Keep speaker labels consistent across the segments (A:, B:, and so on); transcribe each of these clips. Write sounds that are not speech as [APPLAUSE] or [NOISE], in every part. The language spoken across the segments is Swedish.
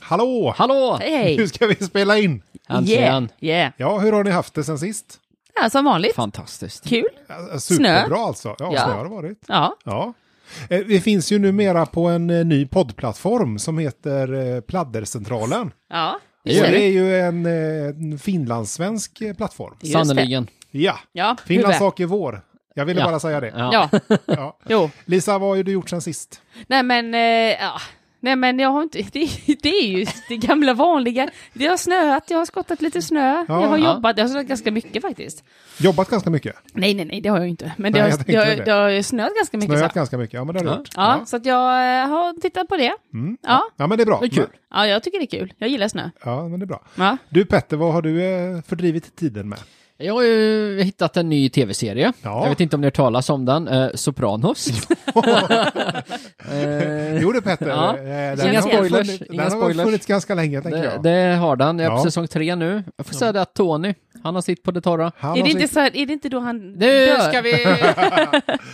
A: Hallå!
B: Hallå!
C: Hej hej!
A: Nu ska vi spela in!
B: Äntligen!
C: Yeah, yeah.
A: Ja, hur har ni haft det sen sist?
C: Ja, som vanligt.
B: Fantastiskt.
C: Kul.
A: Eh, Superbra alltså. Ja,
C: Ja.
A: snö har det varit.
C: Ja.
A: Ja. Eh, Vi finns ju numera på en eh, ny poddplattform som heter eh, Pladdercentralen.
C: Ja.
A: Och
B: gör
A: det är ju en, eh, en finlandssvensk eh, plattform.
C: Just det.
B: Sannerligen.
A: Ja,
C: Ja,
A: Finlands
C: huvud.
A: sak är vår. Jag ville
B: Ja.
A: bara säga det.
B: Ja.
C: Ja.
A: [LAUGHS] Ja.
C: Jo.
A: Lisa, vad har du gjort sen sist?
C: Nej men, eh, ja. Nej men jag har inte, det, det är ju det gamla vanliga. Det har snöat, jag har skottat lite snö,
A: Ja.
C: jag har
B: Ja.
C: jobbat, jag har snöat ganska mycket faktiskt.
A: Jobbat ganska mycket?
C: Nej nej nej, det har jag inte. Men det,
A: Nej,
C: har,
A: jag
C: det,
A: tänkte
C: har,
A: det.
C: det har ju snöat ganska mycket.
A: Snöat
C: Så.
A: ganska mycket? Ja, men det har du
B: Ja.
A: gjort.
C: Ja, så att jag eh, har tittat på det. Ja.
A: Ja, men det är bra.
B: Det är kul.
C: ja, jag tycker det är kul. Jag gillar snö.
A: Ja, men det är bra.
C: Ja.
A: Du Petter, vad har du eh, fördrivit tiden med?
B: Jag har ju hittat en ny tv-serie.
A: Ja.
B: Jag vet inte om ni har hört talas om den. Eh, Sopranos.
A: [LAUGHS]
B: Eh,
A: Jo det Petter,
B: [LAUGHS] Ja.
A: eh,
B: Inga
A: har
B: spoilers,
A: Funnits,
B: inga
A: den har väl
B: spoilers.
A: funnits ganska länge tänker
B: det,
A: jag.
B: det har den. Jag är på
A: Ja.
B: säsong tre nu. Jag får säga det att Tony, han har sitt på det torra.
A: Han
C: Är
A: har
C: det, inte
A: sitt-
C: så, är det inte då han
B: Nu
C: dör?
A: [LAUGHS]
B: ska vi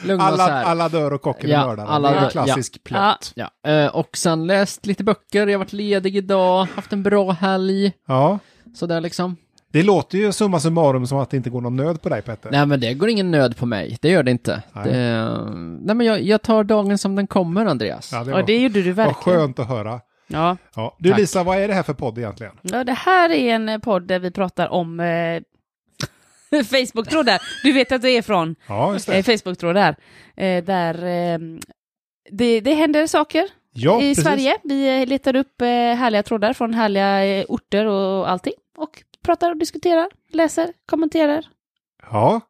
B: lugna oss
A: alla,
B: här.
A: alla dör och kocken
B: Ja,
A: är mördare.
B: alla
A: det är en
B: dör, ja.
A: klassisk plott.
B: Ja, eh, och sen läst lite böcker, jag har varit ledig idag, haft en bra helg,
A: Ja.
B: sådär liksom.
A: Det låter ju summa summarum som att det inte går någon nöd på dig Petter.
B: Nej men det går ingen nöd på mig, det gör det inte.
A: Nej.
B: Nej, det, nej men jag, jag tar dagen som den kommer Andreas.
A: Ja, det var,
C: Ja, det gjorde du
A: var
C: verkligen.
A: skönt att höra.
C: Ja.
A: Ja. Du
B: Tack.
A: Lisa, vad är det här för podd egentligen?
C: Ja, det här är en eh, podd där vi pratar om eh, [LAUGHS] Facebook-trådar. Du vet att det är från
A: Ja, just
C: eh,
A: det.
C: Facebook-trådar. Eh, där eh, det, det händer saker
A: Ja,
C: i
A: precis.
C: Sverige. Vi eh, letar upp eh, härliga trådar från härliga eh, orter och allting. Och pratar och diskuterar, läser, kommenterar.
A: Ja.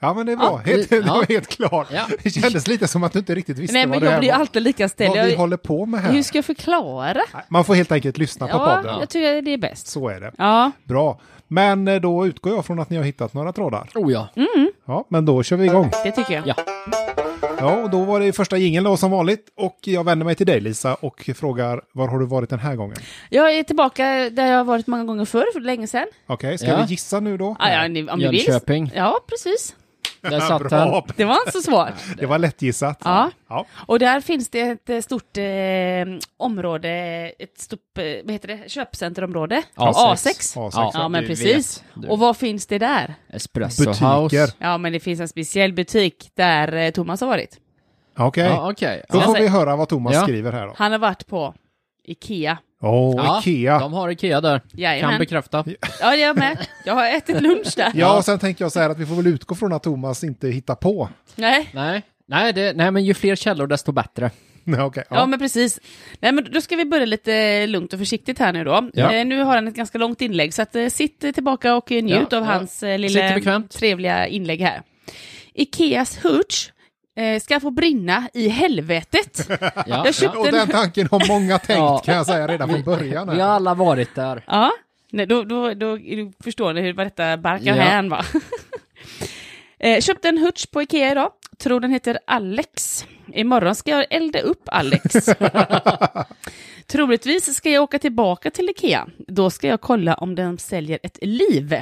A: Ja, men det är bra.
B: Ja,
A: helt, [LAUGHS]
B: vi-
A: det var
B: ja.
A: helt klart. [LAUGHS]
B: Ja.
A: Det kändes lite som att du inte riktigt visste
C: Nej,
A: vad
C: men
A: det här
C: jag blir
A: var.
C: alltid lika ställd.
A: Vad vi
C: Jag,
A: håller på med här.
C: hur ska jag förklara?
A: Nej, Man får helt enkelt lyssna på
C: Ja,
A: podden.
C: jag tycker det är bäst.
A: Så är det.
C: Ja,
A: Bra. Men eh, då utgår jag från att ni har hittat några trådar.
B: Oh ja.
A: Ja, men då kör vi igång.
C: det tycker jag.
B: Ja.
A: Ja, och då var det första jingeln då som vanligt. Och jag vänder mig till dig Lisa och frågar var har du varit den här gången?
C: Jag är tillbaka där jag har varit många gånger förr, för länge sedan.
A: Okej, ska
B: Ja.
A: vi gissa nu då?
C: Ja, ja, ni- om ni vill.
B: Jönköping.
C: Ja, precis.
B: Där satt den.
A: Bra!
C: Det var inte så
B: [LAUGHS]
C: svårt.
A: Det var lättgissat.
C: Ja.
A: ja.
C: Och där finns det ett eh, stort eh, område, ett stort, eh, vad heter det, köpcenterområde?
B: A6.
A: A6,
C: Ja,
A: ja,
C: men
B: du
C: precis.
B: vet, du.
C: och vad finns det där?
B: Espresso
A: Butiker.
B: House.
C: Ja, men det finns en speciell butik där eh, Thomas har varit.
A: Okej,
B: Ja, okej.
A: då
B: Ja.
A: får vi höra vad Thomas
B: Ja.
A: skriver här då.
C: Han har varit på Ikea.
A: Åh,
B: Ja,
A: Ikea.
B: De har Ikea där.
C: Jajamän.
B: Kan bekräfta.
C: Ja, det är jag med. Jag har ätit lunch där.
A: Ja, och sen tänker jag så här att vi får väl utgå från att Thomas inte hittar på. [LAUGHS]
C: Nej.
B: Nej. Nej, det, nej, men ju fler källor desto bättre.
A: Nej, okej.
C: Ja. men precis. Nej, men då ska vi börja lite lugnt och försiktigt här nu då.
B: Ja.
C: Eh, nu har han ett ganska långt inlägg, så att, eh, sitt eh, tillbaka och eh, njut
B: Ja,
C: av
B: ja.
C: hans eh,
B: Sitter
C: lilla
B: bekvämt.
C: trevliga inlägg här. Ikeas Hurch eh, ska få brinna i
B: [LAUGHS]
C: helvetet.
B: Ja,
C: Jag köpte
A: Och den tanken har många tänkt
B: Ja.
A: kan jag säga redan från början.
B: Vi har
A: Här.
B: alla varit där.
C: ja, nej, då, då, då, då förstår ni hur vad detta barkar
B: Ja.
C: hän va? [LAUGHS] eh, köpte en Hurch på Ikea idag. Tror den heter Alex. Imorgon ska jag elda upp
B: [LAUGHS]
C: Alex. Troligtvis ska jag åka tillbaka till Ikea. Då ska jag kolla om de säljer ett liv.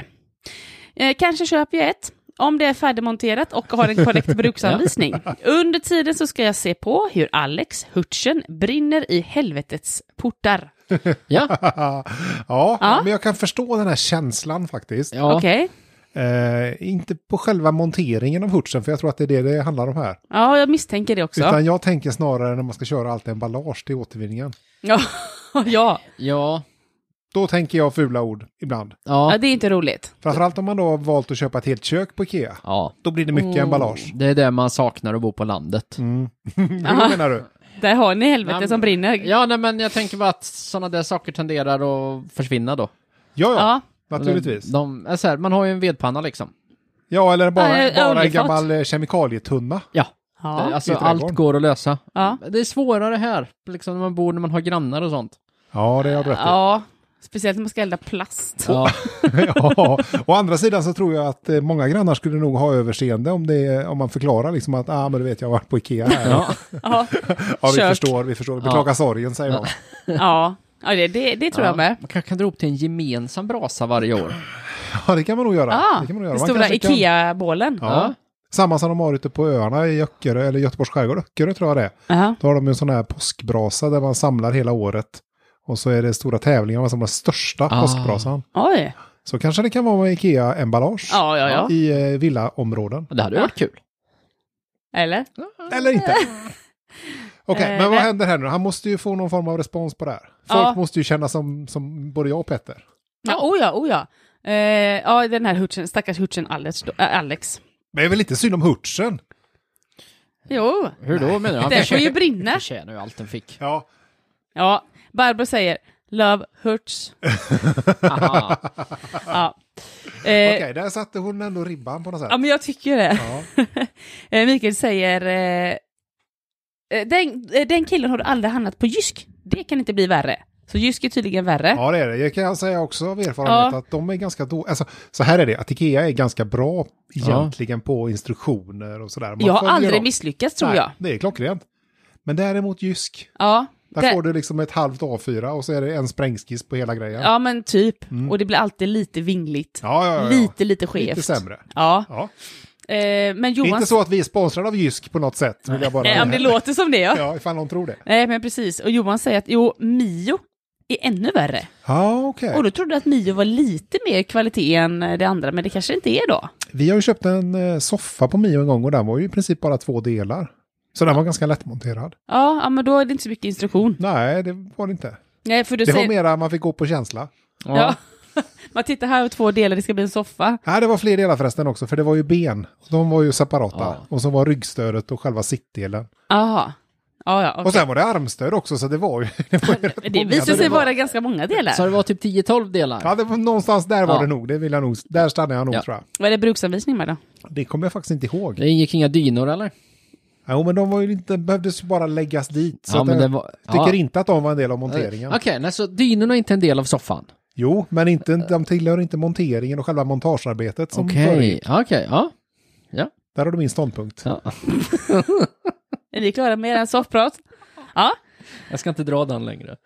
C: Eh, kanske köper jag ett, om det är färdigmonterat och har
B: [LAUGHS]
C: en korrekt bruksanvisning. Under tiden så ska jag se på hur Alex, Hurtchen, brinner i helvetets portar.
A: [LAUGHS]
B: Ja,
A: Ja,
C: Ja.
A: men jag kan förstå den här känslan faktiskt.
B: ja.
C: Okej.
A: Eh, inte på själva monteringen av hurtsen, för jag tror att det är det det handlar om här.
C: Ja, jag misstänker det också.
A: Utan jag tänker snarare när man ska köra allt emballage till återvinningen.
C: Ja. ja.
B: ja.
A: Då tänker jag fula ord ibland.
C: ja,
B: ja.
C: det är inte roligt.
A: Framförallt om man då har valt att köpa ett helt kök på Ikea.
B: ja.
A: Då blir det
C: Oh.
A: mycket emballage.
B: Det är det man saknar att bo på landet.
A: Mm. Hur menar du?
C: Där har ni helvetet
B: Nej,
C: som brinner. Ja.
B: Ja, nej, men jag tänker bara att sådana där saker tenderar att försvinna då.
A: Ja, ja.
C: Ja.
A: Naturligtvis.
B: De, är så här, man har ju en vedpanna liksom.
A: Ja, eller bara,
C: Ja, ja,
A: bara en
C: oljefat.
A: gammal eh, kemikalietunna.
B: Ja,
C: Ja.
B: alltså
A: i trädgården.
B: allt går att lösa.
C: Ja.
B: Det är svårare här, liksom när man bor, när man har grannar och sånt.
A: Ja, det har du rätt i.
C: Speciellt när man ska elda plast.
B: Ja,
A: ja. Å andra sidan så tror jag att eh, många grannar skulle nog ha överseende om, det, om man förklarar liksom att ah, men du vet, jag har varit på Ikea här. Ja,
B: ja.
C: Ja,
A: vi
C: kört.
A: förstår, vi förstår. Beklagar sorgen, säger de.
C: ja. ja det, det, det tror jag med.
B: Man kanske kan dra upp till en gemensam brasa varje år.
A: Ja, det kan man nog göra.
C: Ja,
A: det kan man nog göra.
C: den
A: Man
C: stora
A: kanske kan-
C: Ikea-bålen.
A: Ja. Samma som de har ute på öarna i Öckerö, eller Göteborgs skärgård, Öckerö tror jag det är.
C: Ja.
A: Då har de ju en sån här påskbrasa där man samlar hela året. Och så är det stora tävlingar, man samlar största
B: Ah.
A: påskbrasan.
C: Oj.
A: Så kanske det kan vara med Ikea-emballage
C: Ja, ja, ja.
A: i eh, villaområden.
B: Det hade ju varit kul.
C: Eller?
A: Eller
C: [LAUGHS]
A: inte. Okej,
C: Eh,
A: men vad
C: nej.
A: händer här nu? Han måste ju få någon form av respons på det här. Folk
C: Ja.
A: måste ju känna som, som både jag och Petter.
C: Ja, oh ja, oh ja. Eh, ja, den här hutchen, stackars hutchen Alex. Då, äh, Alex.
A: Men det är väl inte synd om Hurtsen?
C: Jo,
B: Hur då menar du? Han
C: den får ju
B: förtjänar-
C: brinna.
B: förtjänar ju allt den fick.
A: Ja.
C: Ja, Barbro säger Love hurts.
B: [LAUGHS] Aha.
C: Ja. Eh,
A: Okej, där satte hon ändå ribban på något sätt.
C: ja, men jag tycker ju det.
A: Ja.
C: Eh, Mikael säger eh, eh, den, eh, den killen har du aldrig hamnat på Jysk. Det kan inte bli värre. Så Jysk är tydligen värre.
A: Ja, det är det. Jag kan säga också av erfarenhet
C: Ja.
A: att de är ganska dåliga. Alltså, så här är det, att Ikea är ganska bra egentligen på instruktioner och sådär. Man
C: jag har
A: följer
C: aldrig
A: dem.
C: misslyckats tror
A: Nej,
C: jag.
A: Det är klockrent. Men däremot Jysk,
C: Ja,
A: där
C: det-
A: får du liksom ett halvt A4 och så är det en sprängskiss på hela grejen.
C: ja men typ. Och det blir alltid lite vingligt.
A: Mm. ja, ja, ja.
C: Lite, lite skevt.
A: Lite sämre.
C: Ja,
A: Ja.
C: eh, men Johan...
A: Inte så att vi är sponsrade av Jysk på något sätt. Vill jag bara...
C: Nej, men det låter som det ja.
A: Ja, ifall någon tror det.
C: Nej, men precis. Och Johan säger att jo, Mio är ännu värre.
A: Ja, okej.
C: Och då trodde jag att Mio var lite mer kvalitet än det andra, men det kanske inte är då.
A: Vi har ju köpt en eh, soffa på Mio en gång och den var ju i princip bara två delar. Så den var ganska lättmonterad.
C: Ja, ja men då är det inte så mycket instruktion.
A: Nej, det var det inte.
C: Nej, för du
A: Det var
C: säger...
A: mera man fick gå på känsla.
C: Ja. [LAUGHS] Man tittar här och två delar, det ska bli en soffa.
A: Nej, det var fler delar förresten också, för det var ju ben. De var ju separata.
B: Ja.
A: Och så var ryggstödet och själva sittdelen.
C: Jaha. Ja, ja,
A: Och
C: okej.
A: sen var det armstöd också, så det var ju... [LAUGHS] Det var ju rätt
C: Det
A: många
C: visar sig
A: delar.
C: vara ganska många delar.
B: Så det var typ 10-12 delar?
A: Ja, det var, någonstans där var
B: Ja.
A: det nog. Det vill jag nog. Där stannade jag nog,
B: Ja.
A: tror jag.
C: Vad är det bruksanvisning med då?
A: Det kommer jag faktiskt inte ihåg.
B: Det ingick inga dynor eller?
A: Jo, men de var ju inte, behövdes ju bara läggas dit. Så
B: Ja,
A: att
B: men
A: jag
B: det var-
A: tycker
B: ja.
A: inte att de var en del av
B: Okej,
A: monteringen.
B: nej, så dynorna är inte en del av soffan?
A: Jo, men inte, de tillhör inte monteringen och själva montagearbetet som
B: Okej,
A: föregick.
B: okej, ja.
A: Där har du min ståndpunkt.
B: ja.
C: Är vi klara med en soffprat? Ja.
B: Jag ska inte dra den längre.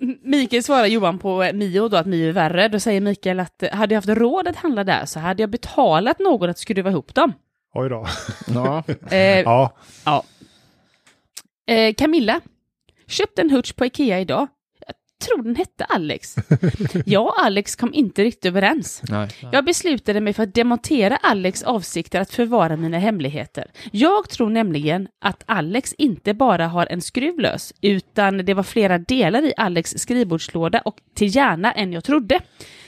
C: M- Mikael svarar Johan på eh, Mio då att Mio är värre. Då säger Mikael att eh, hade jag haft råd att handla där så hade jag betalat någon att skruva
A: [LAUGHS]
C: ihop dem.
A: Oj då.
B: [LAUGHS] Ja.
C: Eh,
A: Ja,
C: Ja. Eh, Camilla. Köpte en hutch på Ikea idag. Jag tror den hette
A: [LAUGHS]
C: Alex. Jag och Alex kom inte riktigt överens.
B: Nej.
C: Jag beslutade mig för att demontera Alex avsikter att förvara mina hemligheter. Jag tror nämligen att Alex inte bara har en skruv lös, utan det var flera delar i Alex skrivbordslåda och till hjärna än jag trodde.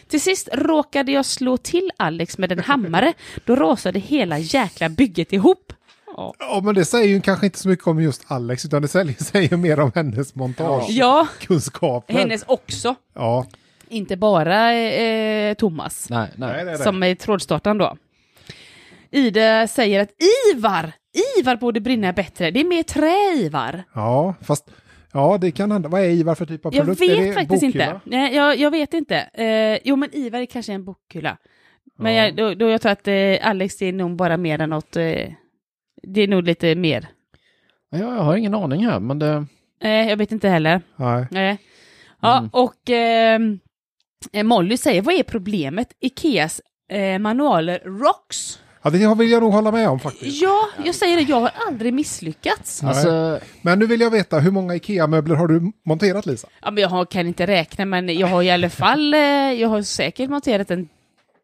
C: Till sist råkade jag slå till Alex med en hammare, då rasade hela jäkla bygget ihop.
A: ja, men det säger ju kanske inte så mycket om just Alex, utan det säger, [LAUGHS] säger ju mer om hennes montagekunskaper.
C: Ja,
A: Hennes...
C: hennes också.
A: Ja,
C: Inte bara eh, Thomas,
B: Nej,
A: nej, nej,
B: nej.
A: nej.
C: som är trådstartaren då. Ida säger att Ivar, Ivar borde brinna bättre. Det är mer trä, Ivar.
A: Ja, fast... Ja, det kan hända. Vad är Ivar för typ av
C: Jag
A: produkt? är
C: vet
A: det
C: faktiskt
A: bokhylla?
C: inte. Nej, jag, jag vet inte. Eh, jo, men Ivar är kanske en bokhylla. Men
A: Ja.
C: jag, då, då jag tror att eh, Alex det är nog bara mer än något. Eh, det är nog lite mer.
B: Ja, jag har ingen aning här, men det...
C: Eh, jag vet inte heller.
A: Nej.
C: Nej. Ja,
B: Mm.
C: och ehm, eh, Molly säger, vad är problemet? Ikeas eh, manualer rocks.
A: Ja, det vill jag nog hålla med om faktiskt.
C: Ja, jag säger det, jag har aldrig misslyckats.
B: Alltså,
A: Men nu vill jag veta, hur många IKEA-möbler har du monterat, Lisa?
C: Ja, men jag har, kan inte räkna, men jag har i alla fall, eh, jag har säkert monterat en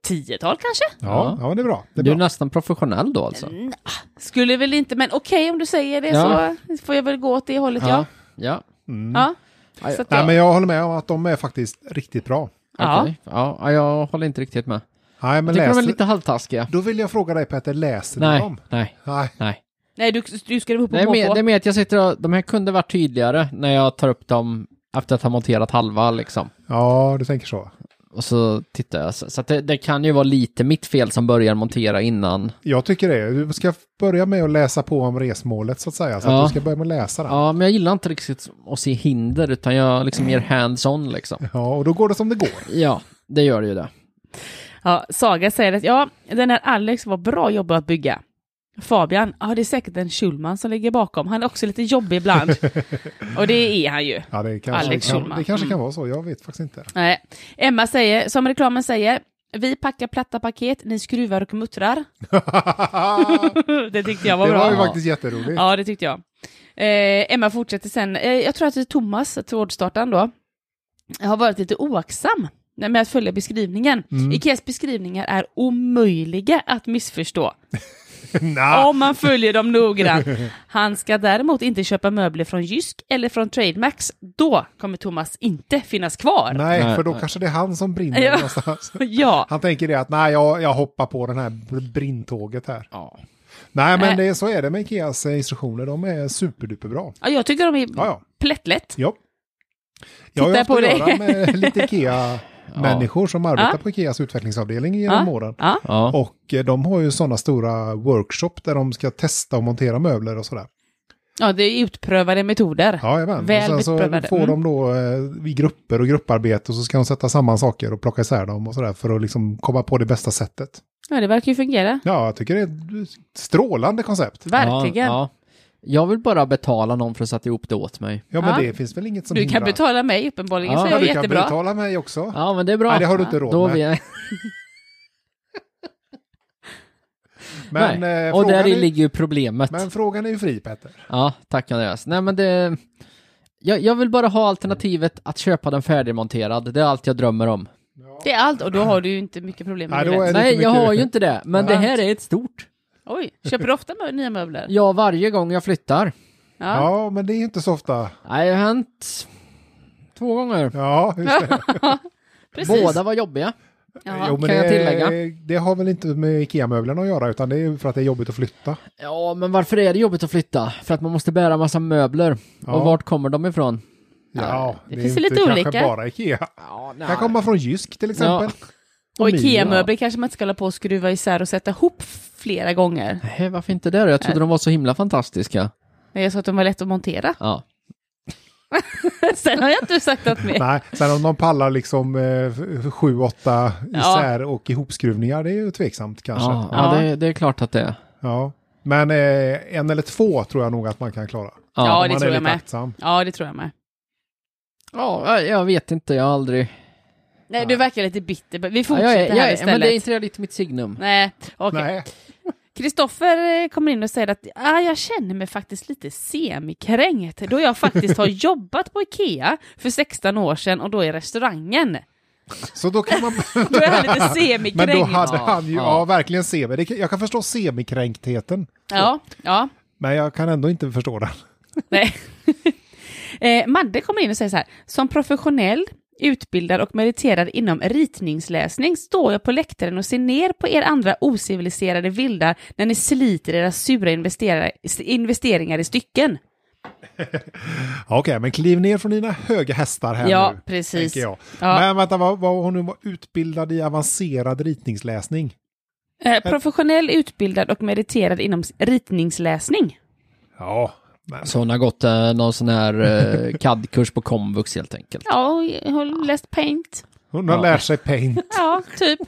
C: tiotal kanske.
A: Ja, ja det är bra. Det är
B: du är
A: bra.
B: nästan professionell då alltså?
C: Skulle väl inte, men okej om du säger det
B: Ja.
C: så får jag väl gå åt det hållet, ja.
B: Ja. ja.
C: ja. Så att
A: Nej,
C: jag,
A: men jag håller med om att de är faktiskt riktigt bra.
C: Ja.
B: Okej. ja. ja, jag håller inte riktigt med.
A: Nej, men
B: Jag tycker
A: läs...
B: de är lite halvtaskiga.
A: Då vill jag fråga dig, Peter, läser du
B: Nej,
A: dem?
B: nej,
A: Nej.
B: nej.
C: nej, du, du skrev ihop
B: Det är,
C: på
B: mer,
C: måfå.
B: det är mer att jag sitter och, de här kunde varit tydligare när jag tar upp dem efter att ha monterat halva liksom.
A: Ja, du tänker så.
B: Och så tittar jag. Så, så att det, det kan ju vara lite mitt fel som börjar montera innan.
A: Jag tycker det. Du ska börja med att läsa på om resmålet så att säga. Så
B: Ja.
A: att du ska börja med att läsa den. Ja.
B: Ja, men jag gillar inte riktigt att se hinder utan jag liksom mer hands-on liksom.
A: och då går det som det går.
B: Ja, det gör det ju det.
C: Ja, Saga säger att ja, den här Alex var bra jobbat att bygga. Fabian, ja det är säkert en Schulman som ligger bakom. Han är också lite jobbig ibland. Och det är han ju.
A: Ja, det kanske,
C: Alex
A: kan,
C: Schulman.
A: det kanske kan
C: Mm.
A: vara så. Jag vet faktiskt inte.
C: Nej. Emma säger, som reklamen säger, Vi packar platta paket, ni skruvar och muttrar. [LAUGHS] det tyckte jag var
A: det
C: bra.
A: var ju
B: Ja.
A: faktiskt jätteroligt.
C: Ja, det tyckte jag. Eh, Emma fortsätter sen. Eh, jag tror att det är Thomas, trådstartaren då, har varit lite oaktsam med att följa beskrivningen.
A: Mm.
C: Ikeas beskrivningar är omöjliga att missförstå
A: Nja,
C: om man följer
A: [LAUGHS]
C: dem noggrant. Han ska däremot inte köpa möbler från Jysk eller från Trademax. Då kommer Thomas inte finnas kvar.
A: nej,
B: Nej,
A: för då
B: nej.
A: kanske det är han som brinner
C: Ja.
A: någonstans.
C: Ja,
A: Han tänker det att nej, jag, jag hoppar på den här br- brintåget här.
B: Ja.
A: Nej, men
C: Nej.
A: det, så är det med Ikeas eh, instruktioner. De är superduperbra.
C: Ja, jag tycker de är
A: Ja, ja.
C: plättlätt.
A: Ja. Jag har
C: Titta
A: ju haft
C: på
A: att
C: dig.
A: göra
C: [LAUGHS]
A: med lite Ikea-människor som arbetar
C: Ja.
A: på Ikeas utvecklingsavdelning genom
C: Ja.
A: åren.
C: Ja.
B: Ja.
A: Och eh, de har ju sådana stora workshop där de ska testa och montera möbler och sådär.
C: ja, det är utprövade metoder.
A: Ja, jajamän.
C: Väl
A: och sen så
C: beprövade.
A: får
C: Mm.
A: de då eh, i grupper och grupparbete och så ska de sätta samman saker och plocka isär dem och sådär för att liksom komma på det bästa sättet.
C: Ja, det verkar ju fungera.
A: Ja, jag tycker det är ett strålande koncept.
C: Verkligen.
B: Ja, ja. Jag vill bara betala någon för att sätta ihop det åt mig.
A: Ja, men
C: Ja.
A: det finns väl inget som
C: Du kan
A: hindrar.
C: betala mig uppenbarligen,
B: Ja.
C: så
A: Ja,
C: jag är
A: du kan
C: jättebra.
A: betala mig också.
B: Ja, men det är bra.
A: Nej, det har du inte råd
B: Då
A: med. Eh,
B: vill jag...
A: Men,
B: Nej.
A: eh,
B: Och där
A: frågan är,
B: ligger ju problemet.
A: men frågan är ju fri, Petter.
B: Ja, tack Andreas. Nej, men det... Jag, jag vill bara ha alternativet att köpa den färdigmonterad. Det är allt jag drömmer om.
C: Det är allt och då har du ju inte mycket problem
A: Nej,
C: med
A: då är-
C: det.
A: lite
B: Nej, jag
A: mycket-
B: har ju inte det. Men
A: Ja.
B: det här är ett stort.
C: Oj, köper du ofta mö- nya möbler?
B: Ja, varje gång jag flyttar.
C: Ja.
A: Ja, men det är inte så ofta.
B: Nej, det har hänt två gånger.
A: Ja, just det.
C: Precis.
B: Båda var jobbiga.
C: Ja.
A: Jo, men
B: Kan jag
A: det,
B: tillägga?
A: det har väl inte med Ikea-möblerna att göra, utan det är ju för att det är jobbigt att flytta.
B: Ja, men varför är det jobbigt att flytta? För att man måste bära massa möbler.
A: Ja.
B: Och vart kommer de ifrån?
A: Ja,
C: det finns ju
A: inte
C: lite
A: kanske
C: olika.
A: bara Ikea.
B: Ja, nej.
A: Jag kommer från Jysk till exempel.
C: [LAUGHS] Och
A: Mila.
C: IKEA-möbler kanske man inte ska hålla på och skruva isär och sätta ihop flera gånger.
B: Nej, varför inte det då? Jag trodde de var så himla fantastiska.
C: Nej, Jag sa att de var lätt att montera. [LAUGHS]
B: Ja.
C: Sen har jag inte sagt något mer.
A: Nej, sen om de pallar liksom eh, f- sju, åtta
C: Ja.
A: isär och ihopskruvningar, det är ju tveksamt kanske.
B: Ja,
A: Ja.
B: ja
C: Ja.
B: det, det är klart att det är.
A: Men eh, en eller två tror jag nog att man kan klara.
C: Ja,
A: Om
C: det
A: man
C: tror
A: är
C: jag
A: lite
C: med.
A: aktsam.
C: Ja, det tror jag med.
B: Ja, jag vet inte, jag har aldrig...
C: Nej, du verkar lite bitter. Vi
B: Ja,
C: fortsätter
B: jag är, jag
C: här
B: är, men
C: istället.
B: det är inte det lite mitt signum.
C: Nej, okej.
A: Nej,
C: Kristoffer eh, kommer in och säger att ah, jag känner mig faktiskt lite semikränkt då jag faktiskt
B: [LAUGHS]
C: har jobbat på Ikea för 16 år sedan och då i restaurangen.
A: så då kan man...
C: [LAUGHS] Då är han
B: [LAUGHS]
C: lite semikränkt.
A: Men då hade
B: Ja,
A: han ju, ja,
B: ja.
A: verkligen semi. det kan- Jag kan förstå semikränktheten,
C: Ja, ja.
A: men jag kan ändå inte förstå den.
C: Nej. [LAUGHS] eh, Madde kommer in och säger så här. Som professionell, utbildad och meriterad inom ritningsläsning står jag på läktaren och ser ner på er andra ociviliserade vildar när ni sliter era sura investera- investeringar i stycken.
A: Ja, Okej, men kliv ner från dina höga hästar här
C: ja,
A: nu.
C: precis.
A: Tänker jag.
C: Ja.
A: Men vänta, vad, vad hon nu var utbildad i avancerad ritningsläsning.
C: Eh, professionell, utbildad och meriterad inom s- ritningsläsning.
A: Ja, men
B: Så hon har gått eh, någon sån här [LAUGHS] eh, CAD-kurs på komvux helt enkelt.
C: Ja, och jag har läst paint.
A: hon har
B: Ja.
A: lärt sig
C: [LAUGHS]
A: paint.
C: Ja, typ.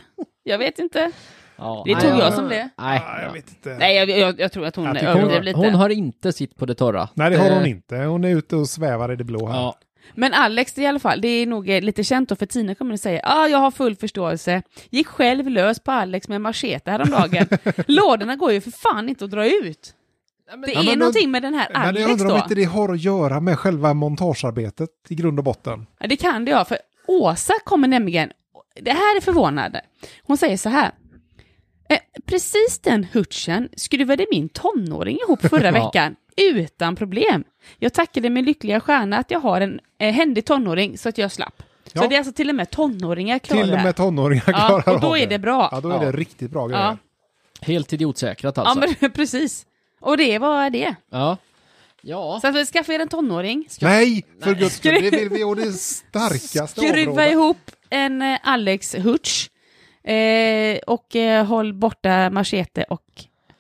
C: Jag vet inte.
B: Ja,
C: Det
B: nej,
C: tog
B: jag-
C: jag som det.
B: Nej,
A: Ja, jag vet inte. Nej.
C: Nej, jag, jag, jag tror att hon
A: Jag tycker hon-
C: överdrev lite.
B: hon har inte sitt på det torra. Eh,
A: det har
C: Eh.
A: hon inte. Hon är ute och svävar i det blå här.
B: Ja,
C: Men Alex i alla fall, det är nog eh, lite känt då för Tina kommer att säga ah, jag har full förståelse. Gick själv lös på Alex med en machete häromdagen.
A: [LAUGHS]
C: Lådorna går ju för fan inte att dra ut. Det
A: Ja,
C: är
A: men då-
C: någonting med den här
A: Men jag
C: Alex
A: undrar om
C: då.
A: inte det har att göra med själva montagearbetet i grund och botten.
C: Ja, Det kan det ja, för Åsa kommer nämligen, det här är förvånande, hon säger så här. "Eh, Precis den hutchen skruvade min tonåring ihop förra
A: [LAUGHS]
B: Ja.
C: veckan, utan problem. Jag tackade min lyckliga stjärna att jag har en eh, händig tonåring så att jag slapp.
A: Ja.
C: Så det är alltså till och med tonåringar klarar
A: Till
C: det
A: och
C: här.
A: med tonåringar
C: Ja,
A: klarar
C: och då
A: av
C: är det bra.
A: Ja, då är det
B: Ja.
A: riktigt bra grejer.
C: Ja,
B: helt idiotsäkrat
C: ja
B: alltså.
C: men [LAUGHS] precis. Och det var det.
B: Ja. Ja.
C: Så att vi skaffar er en tonåring,
A: Nej, för guds skull, det
C: Skruv-
A: vill vi och
C: [LAUGHS]
A: det starkaste
C: skruva
A: området.
C: ihop en eh, Alex Hutch eh, och eh, håll borta machete och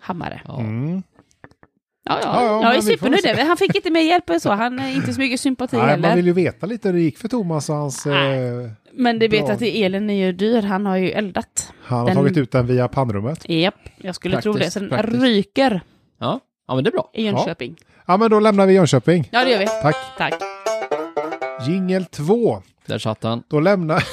C: hammare. Ja,
B: Ja.
A: Mm.
C: ja,
A: Ja, ja,
C: ja,
A: men
C: jag är
A: vi får
C: supernöjd.
A: se.
C: över. Han fick inte mer hjälp än så, han är inte så mycket sympati
A: Nej, man
C: heller.
A: vill ju veta lite hur det gick för Thomas och hans...
C: Nej.
A: Eh,
C: Men det vet
A: Bra.
C: att elen är ju dyr, han har ju eldat.
A: han har
C: Den-
A: tagit ut den via pannrummet.
C: Japp, jag skulle tro
B: Praktiskt,
C: det. Så den
B: praktiskt.
C: ryker
B: Ja. ja, men det är bra.
C: i Jönköping.
A: Ja, men då lämnar vi Jönköping.
C: Ja, det gör vi.
A: Tack.
C: Tack.
A: Jingel 2.
B: Där satt han.
A: Då lämnar...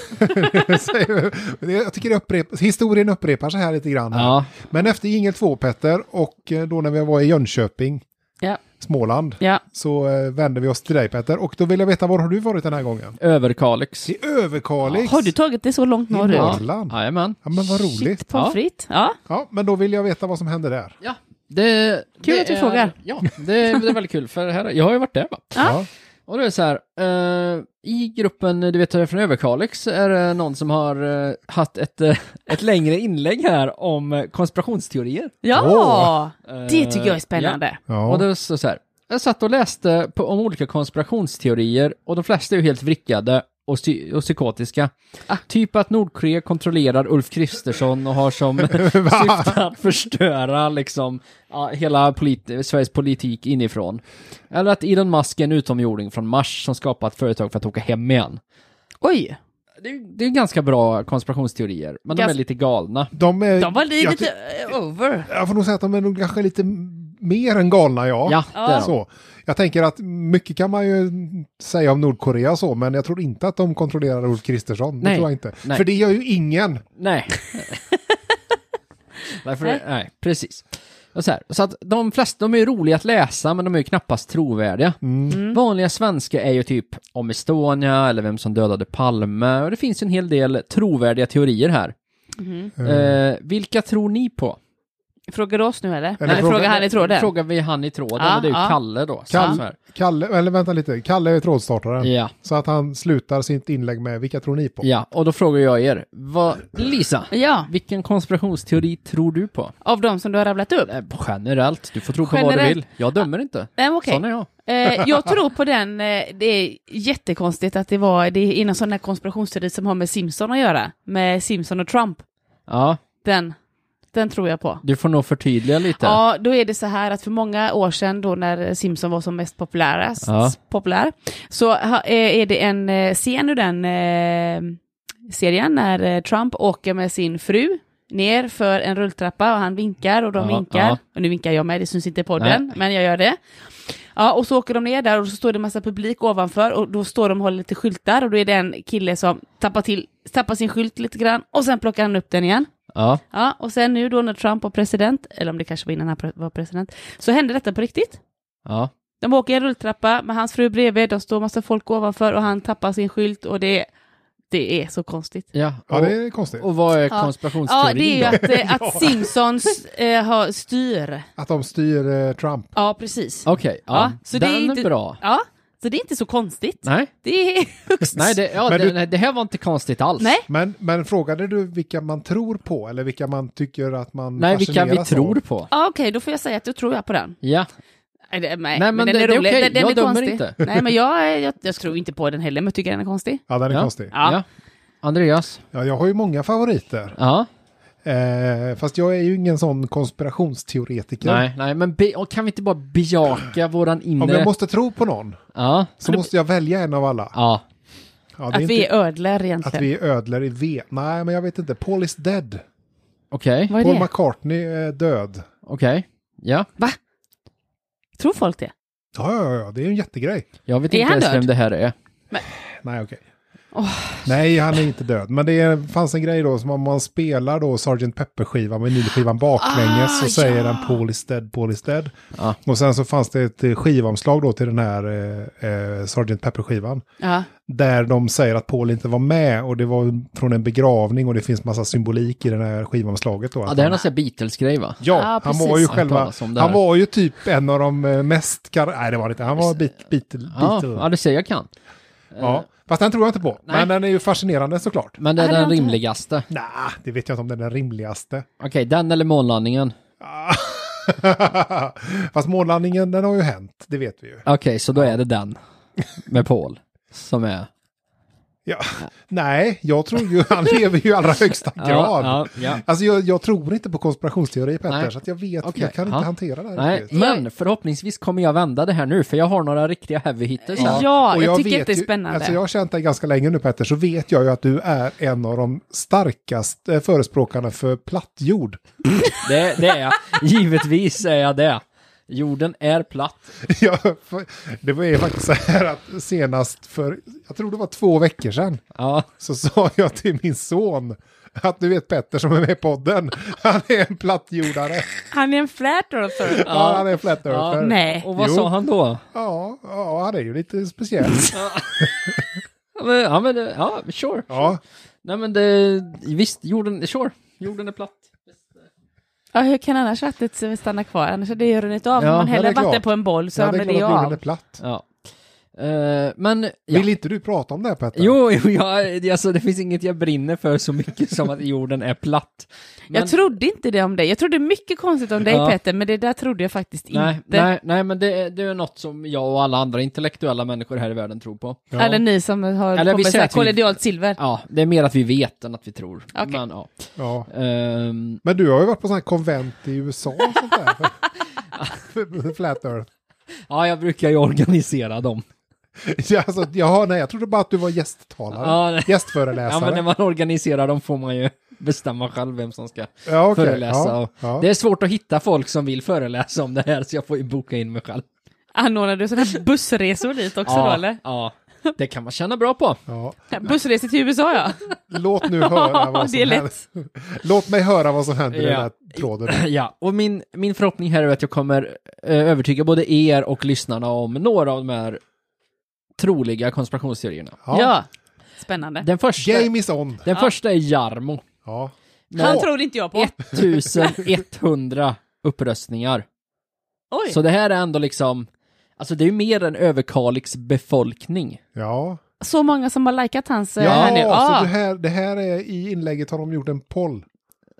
A: [LAUGHS] Säger vi- jag tycker det upprep... historien upprepar sig här lite grann. här.
B: Ja,
A: Men efter jingel 2 Petter och eh, då när vi var i Jönköping,
C: Ja.
A: Småland,
C: Ja.
A: så eh, vänder vi oss till dig Petter. Och då vill jag veta var har du varit den här gången?
B: Överkalix.
A: Till Överkalix!
C: Har du tagit det så långt norrut?
A: Ja. Norrland.
B: Jajamän.
A: Ja men vad roligt.
C: Shit, pommes
B: Ja.
C: frites. Ja.
A: Ja men då vill jag veta vad som hände där.
B: Ja, det,
C: Kul
B: det
C: att du
B: är,
C: frågar.
B: Ja, det, det är väldigt kul för här, jag har ju varit där va.
A: Ja.
B: Och det är så här, eh, i gruppen, du vet från Överkalix, är det någon som har eh, haft ett, eh, ett längre inlägg här om eh, konspirationsteorier.
C: ja.
B: Eh,
C: Det tycker jag är
B: ja.
C: spännande.
B: Och det
A: Ja.
B: var så så här, jag satt och läste på, om olika konspirationsteorier och de flesta är ju helt vrickade och, psy- och psykotiska. Typ att Nordkorea kontrollerar Ulf Kristersson och har som syfte att förstöra liksom ja, hela polit- Sveriges politik inifrån. Eller att Elon Musk är en utomjording från Mars som skapat företag för att åka hem igen.
C: Oj.
B: Det är, det är ganska bra konspirationsteorier, men de
C: Gans-
B: är lite galna.
A: De, är,
C: De var li-
A: Eh, jag,
C: lite
A: ty-
C: eh, over.
A: jag får nog säga att de är nog kanske lite mer än galna ja.
B: Ja, det är de.
A: Så. Jag tänker att mycket kan man ju säga om Nordkorea och så, men jag tror inte att de kontrollerar Ulf Kristersson. Det
B: Nej.
A: tror jag inte.
B: Nej.
A: För det gör ju ingen.
C: [LAUGHS]
B: Nej. Därför, nej. nej, precis. Och så, här, så att de flesta, de är ju roliga att läsa, men de är ju knappast trovärdiga.
C: Mm.
B: Vanliga svenska är ju typ om Estonia eller vem som dödade Palme. Och det finns ju en hel del trovärdiga teorier här.
C: Mm-hmm.
B: Eh, vilka tror ni på?
C: Frågar du oss nu eller?
A: Eller
C: Eller,
A: frågar-
C: frågar han i tråden?
B: Frågar vi han i tråden,
C: Ja,
B: och det är ju
C: ja.
B: Kalle då. som
A: Kalle.
B: så här.
A: Kalle, eller vänta lite, Kalle är trådstartaren.
B: Ja,
A: Så att han slutar sitt inlägg med vilka tror ni på?
B: ja, och då frågar jag er. Vad, Lisa,
C: Ja,
B: vilken konspirationsteori tror du på?
C: av de som du har rabblat upp.
B: Eh, Generellt, du får tro på vad du
C: Generellt. Ah,
B: vill. Jag dömer inte.
C: Nej, men okej.
B: Sån är jag.
C: Eh, jag tror på den, eh, det är jättekonstigt att det var, det är inom sån här konspirationsteori som har med Simpson att göra. Med Simpson och Trump.
B: Ja,
C: Den, den tror jag på.
B: du får nog förtydliga lite.
C: Ja, då är det så här att för många år sedan då när Simpson var som mest populär,
B: Ja.
C: populär så ha- eh, är det en eh, scen ur den eh, serien när eh, Trump åker med sin fru ner för en rulltrappa och han vinkar och de
B: Ja,
C: vinkar.
B: ja.
C: Och nu vinkar jag med, det syns inte i podden, men jag gör det. Ja, och så åker de ner där och så står det en massa publik ovanför och då står de och håller lite skyltar och då är det en kille som tappar, till, tappar sin skylt lite grann och sen plockar han upp den igen.
B: Ja.
C: Ja, och sen nu då när Trump var president, eller om det kanske var innan han pre- var president, så hände detta på riktigt.
B: ja.
C: De åker i en rulltrappa med hans fru bredvid, de står massa folk ovanför och han tappar sin skylt och det, det är så konstigt.
B: Ja,
A: Ja, det är konstigt.
B: och, och vad är
C: Ja.
B: konspirationsteorin
C: Ja, det är ju
B: då?
C: att,
B: [LAUGHS]
C: eh, att Simpsons eh, har styr.
A: Att de styr eh, Trump.
C: Ja, precis.
B: Okej, ja.
C: Ja, så det
B: den
C: är
B: är,
C: inte-
B: bra.
C: Ja, så det är inte så konstigt.
B: Nej,
C: Det är [LAUGHS] högst...
B: nej det, ja,
A: Men
B: det,
A: du-
B: nej, det här var inte konstigt alls.
C: Nej.
A: Men, men frågade du vilka man tror på eller vilka man tycker att man
B: Nej, vilka vi
A: fascineras av?
B: tror på.
C: Ja, okej, då får jag säga att då tror jag på den.
B: Ja,
C: Nej, det, nej,
B: men
C: men den
B: det-
C: är
B: det är
C: rolig.
B: okej.
C: Den, den
B: Jag
C: är
B: dömer
C: konstig.
B: inte.
C: Nej, men jag, jag,
B: [LAUGHS]
C: jag tror inte på den heller, men jag tycker den är konstig.
A: Ja, den är
B: Ja.
A: konstig.
B: ja.
C: Ja.
B: Andreas?
A: Ja, jag har ju många favoriter.
B: Ja.
A: Eh, fast jag är ju ingen sån konspirationsteoretiker.
B: Nej, nej, men be, och kan vi inte bara bejaka våran
A: Om
B: inre...
A: jag måste tro på någon
B: Ja.
A: så måste jag välja en av alla.
B: Ja.
A: Ja, det är
C: Att
A: inte-
C: vi är ödlor egentligen.
A: Att vi är ödlor i V. Nej, men jag vet inte. Paul is dead.
B: Okej,
C: Vad är
A: Paul
C: det?
A: McCartney är död.
B: okej. Ja.
C: Va? Tror folk det?
A: Ja, ja, ja, det är ju en jättegrej.
B: Jag vet
C: Är
B: inte
C: han
B: ens vem
C: död?
B: det här är.
A: Nej, okej.
C: Åh.
A: Nej, han är inte död. Men det är, fanns en grej då som om man spelar då Sgt. Pepper-skivan, vinylskivan baklänges
C: Ah,
A: så säger
C: ja.
A: den Paul is dead, Paul is dead.
B: Ja.
A: Och sen så fanns det ett eh, skivomslag då till den här eh, eh, Sgt. Pepper-skivan.
C: Ja.
A: Där de säger att Paul inte var med och det var från en begravning och det finns massa symbolik i det här skivomslaget då.
B: Ja,
A: Att
B: det här är
A: han-
B: någon sån här Beatles-grej va?
A: Ja,
C: Ja,
A: han
C: precis.
A: var ju
B: Jag har hört
A: själva,
B: talas om det här.
A: han var ju typ en av de eh, mest, kar- nej det var inte, han var bit, bit, bit,
B: Ja, ja
A: ja.
B: du ser, jag kan.
A: Fast den tror jag inte på,
B: Nej.
A: men den är ju fascinerande såklart.
B: Men det
C: Ja,
B: är
C: det
B: den
C: var inte-
B: rimligaste.
A: Nej, det vet jag inte om den är den rimligaste. [LAUGHS]
B: Okej, den eller månlandningen?
A: Fast månlandningen, den har ju hänt, det vet vi ju.
B: Okej, så då är det den. Med Paul. Som är...
A: Ja. Nej, jag tror ju, han lever ju i allra högsta grad.
B: Ja, ja,
A: Alltså jag, jag tror inte på konspirationsteori Petter,
B: Nej.
A: så att jag vet,
B: Okej,
A: jag kan
B: ja.
A: inte hantera det här
B: ja. Nej,
A: riktigt.
B: men förhoppningsvis kommer jag vända det här nu, för jag har några riktiga heavy hitters här.
C: Ja,
A: Och
C: jag, tycker
A: vet
C: att det är
A: ju-
C: spännande.
A: Alltså jag har känt dig ganska länge nu Petter, så vet jag ju att du är en av de starkaste förespråkarna för plattjord. [LAUGHS]
B: Det, det är jag. Givetvis är jag det. Jorden är platt.
A: Ja, för- det var ju faktiskt så här att senast för, jag tror det var två veckor sedan,
B: Ja,
A: så sa jag till min son att du vet Petter som är med i podden, [LAUGHS] han är en plattjordare.
C: Han är en flat earther.
A: Ja, han är en flat earther.
C: Nej.
B: och vad
A: Jo.
B: sa han då?
A: Ja, ja, han är ju lite speciell.
B: Ja, men, ja, men, ja sure.
A: Ja,
B: Nej men det, visst, jorden, sure, jorden är platt.
C: Ja, hur kan annars vattnet stanna kvar? Annars är det ju runnit av.
B: Ja,
C: Om man
B: ja,
A: det
C: häller
A: är klart.
C: vatten på en boll så
A: ja det
C: ramlar
A: är
C: det
A: klart
C: ju
A: att jorden är
C: av.
A: platt.
B: Ja. Eh, men, ja.
A: Vill inte du prata om det här, Petter?
B: Jo, jo jag, alltså, det finns inget jag brinner för så mycket som att jorden är platt. Men,
C: Jag trodde inte det om dig. Jag trodde mycket konstigt om dig
B: Ja.
C: Peter, men det där trodde jag faktiskt
B: nej,
C: inte.
B: nej, nej, men det, är- det är något som jag och alla andra intellektuella människor här i världen tror på.
A: Ja.
C: Eller ni som har
B: Eller vi
C: kommit med så
B: säger
C: här
B: att vi-
C: kolledialt silver.
B: Ja, det är mer att vi vet än att vi tror.
C: Okej.
B: Men, ja.
A: Ja.
B: Ehm,
A: Men du har ju varit på sådana här konvent i USA och sånt
B: [LAUGHS]
A: där. För- Flat Earth.
B: ja, jag brukar ju organisera dem.
A: Ja, alltså, jaha, nej, jag trodde bara att du var gästtalare.
B: Ja, nej. [LAUGHS] Ja,
A: Gästföreläsare.
B: men när man organiserar dem får man ju bestämma själv vem som ska
A: Ja, okej.
B: föreläsa.
A: Ja,
B: och
A: ja.
B: Det är svårt att hitta folk som vill föreläsa om det här, så jag får ju boka in mig själv.
C: Anordnar du sådana här bussresor dit också då eller?
B: ja, det kan man känna bra på.
A: Ja.
C: Bussresor till USA ja.
A: Låt nu
B: [LAUGHS]
A: höra vad som
C: det är lätt.
A: händer. Låt mig höra vad som händer i
B: Ja.
A: den här tråden.
B: [CLEARS THROAT] Ja, och min, min förhoppning här är att jag kommer eh, övertyga både er och lyssnarna om några av de här troliga konspirationsteorierna.
C: Ja.
A: Ja.
C: Spännande.
B: Den första,
A: Game is on.
B: den första är Jarmo.
A: Ja.
C: Han
B: Med
C: tror inte jag på.
B: 1100 uppröstningar.
C: Oj.
B: Så det här är ändå liksom, alltså det är ju mer än Överkalix befolkning.
A: Ja,
C: Så många som har likat hans eh,
A: ja
C: här nu.
A: så
C: Ah.
A: det här, det här är i inlägget har de gjort en poll.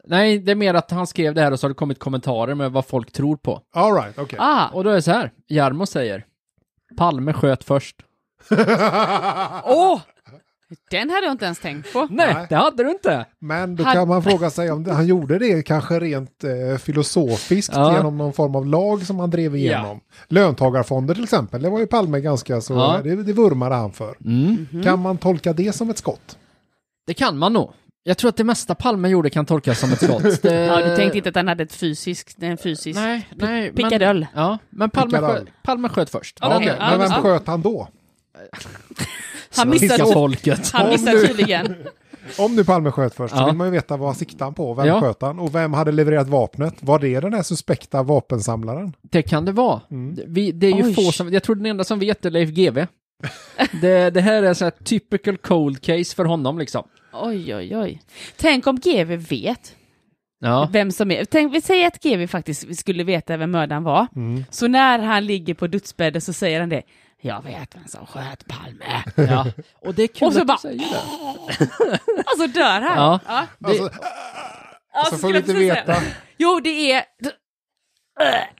B: Nej, det är mer att han skrev det här och så har det kommit kommentarer med vad folk tror på.
A: All right, okej.
C: Ah.
B: Och då är det så här, Jarmo säger, Palme sköt först.
A: [LAUGHS]
C: Åh! Den hade jag inte ens tänkt på.
B: Nej,
A: Nej.
B: det hade du inte!
A: Men då
C: Han-
A: kan man fråga sig om det, han gjorde det kanske rent eh, filosofiskt
B: Ja.
A: genom någon form av lag som han drev igenom. Löntagarfonder till exempel, det var ju Palme ganska så,
B: Ja. Mhm.
A: det, det vurmade han för.
B: Mm.
A: Kan man tolka det som ett skott?
B: Det kan man nog. Jag tror att det mesta Palme gjorde kan tolkas som ett [LAUGHS] skott. Det...
C: Ja, du tänkte inte att han hade ett fysiskt, en fysisk...
B: Nej, nej. men-
C: pickadoll.
B: Ja, men Palme,
A: Pickadoll.
B: sköt, Palme sköt först.
C: Ja,
A: Okej,
C: okej.
A: Men vem
C: Ja.
A: sköt han då?
C: Han
B: Svenska
C: missade-
B: folket.
C: Han missade tydligen.
A: Om nu Palme sköt först så
B: Ja.
A: vill man ju veta vad siktade han på, vem
B: Ja.
A: sköt han och vem hade levererat vapnet? Var det den här suspekta vapensamlaren?
B: Det kan det vara. Vi, det är ju
C: Oj.
B: få som, jag tror den enda som vet är Leif
C: [LAUGHS]
B: GW. Det, det här är så här typical cold case för honom liksom.
C: Oj, oj, oj. Tänk om GV vet
B: Ja.
C: vem som är... Tänk, vi säger att GV faktiskt skulle veta vem mördaren var.
A: Mm.
C: Så när han ligger på dödsbädden så säger han det. Jag vet vem som sköt Palme. [LAUGHS]
B: ja. Och det är kul
C: Och så
B: att
C: bara-
B: du säger det.
C: Och så dör han.
B: Ja.
C: ja.
B: Det-
A: Alltså,
C: Ja,
A: så får vi
C: skulle
A: inte
C: jag precis
A: veta.
C: säga. Jo, det är... [LAUGHS]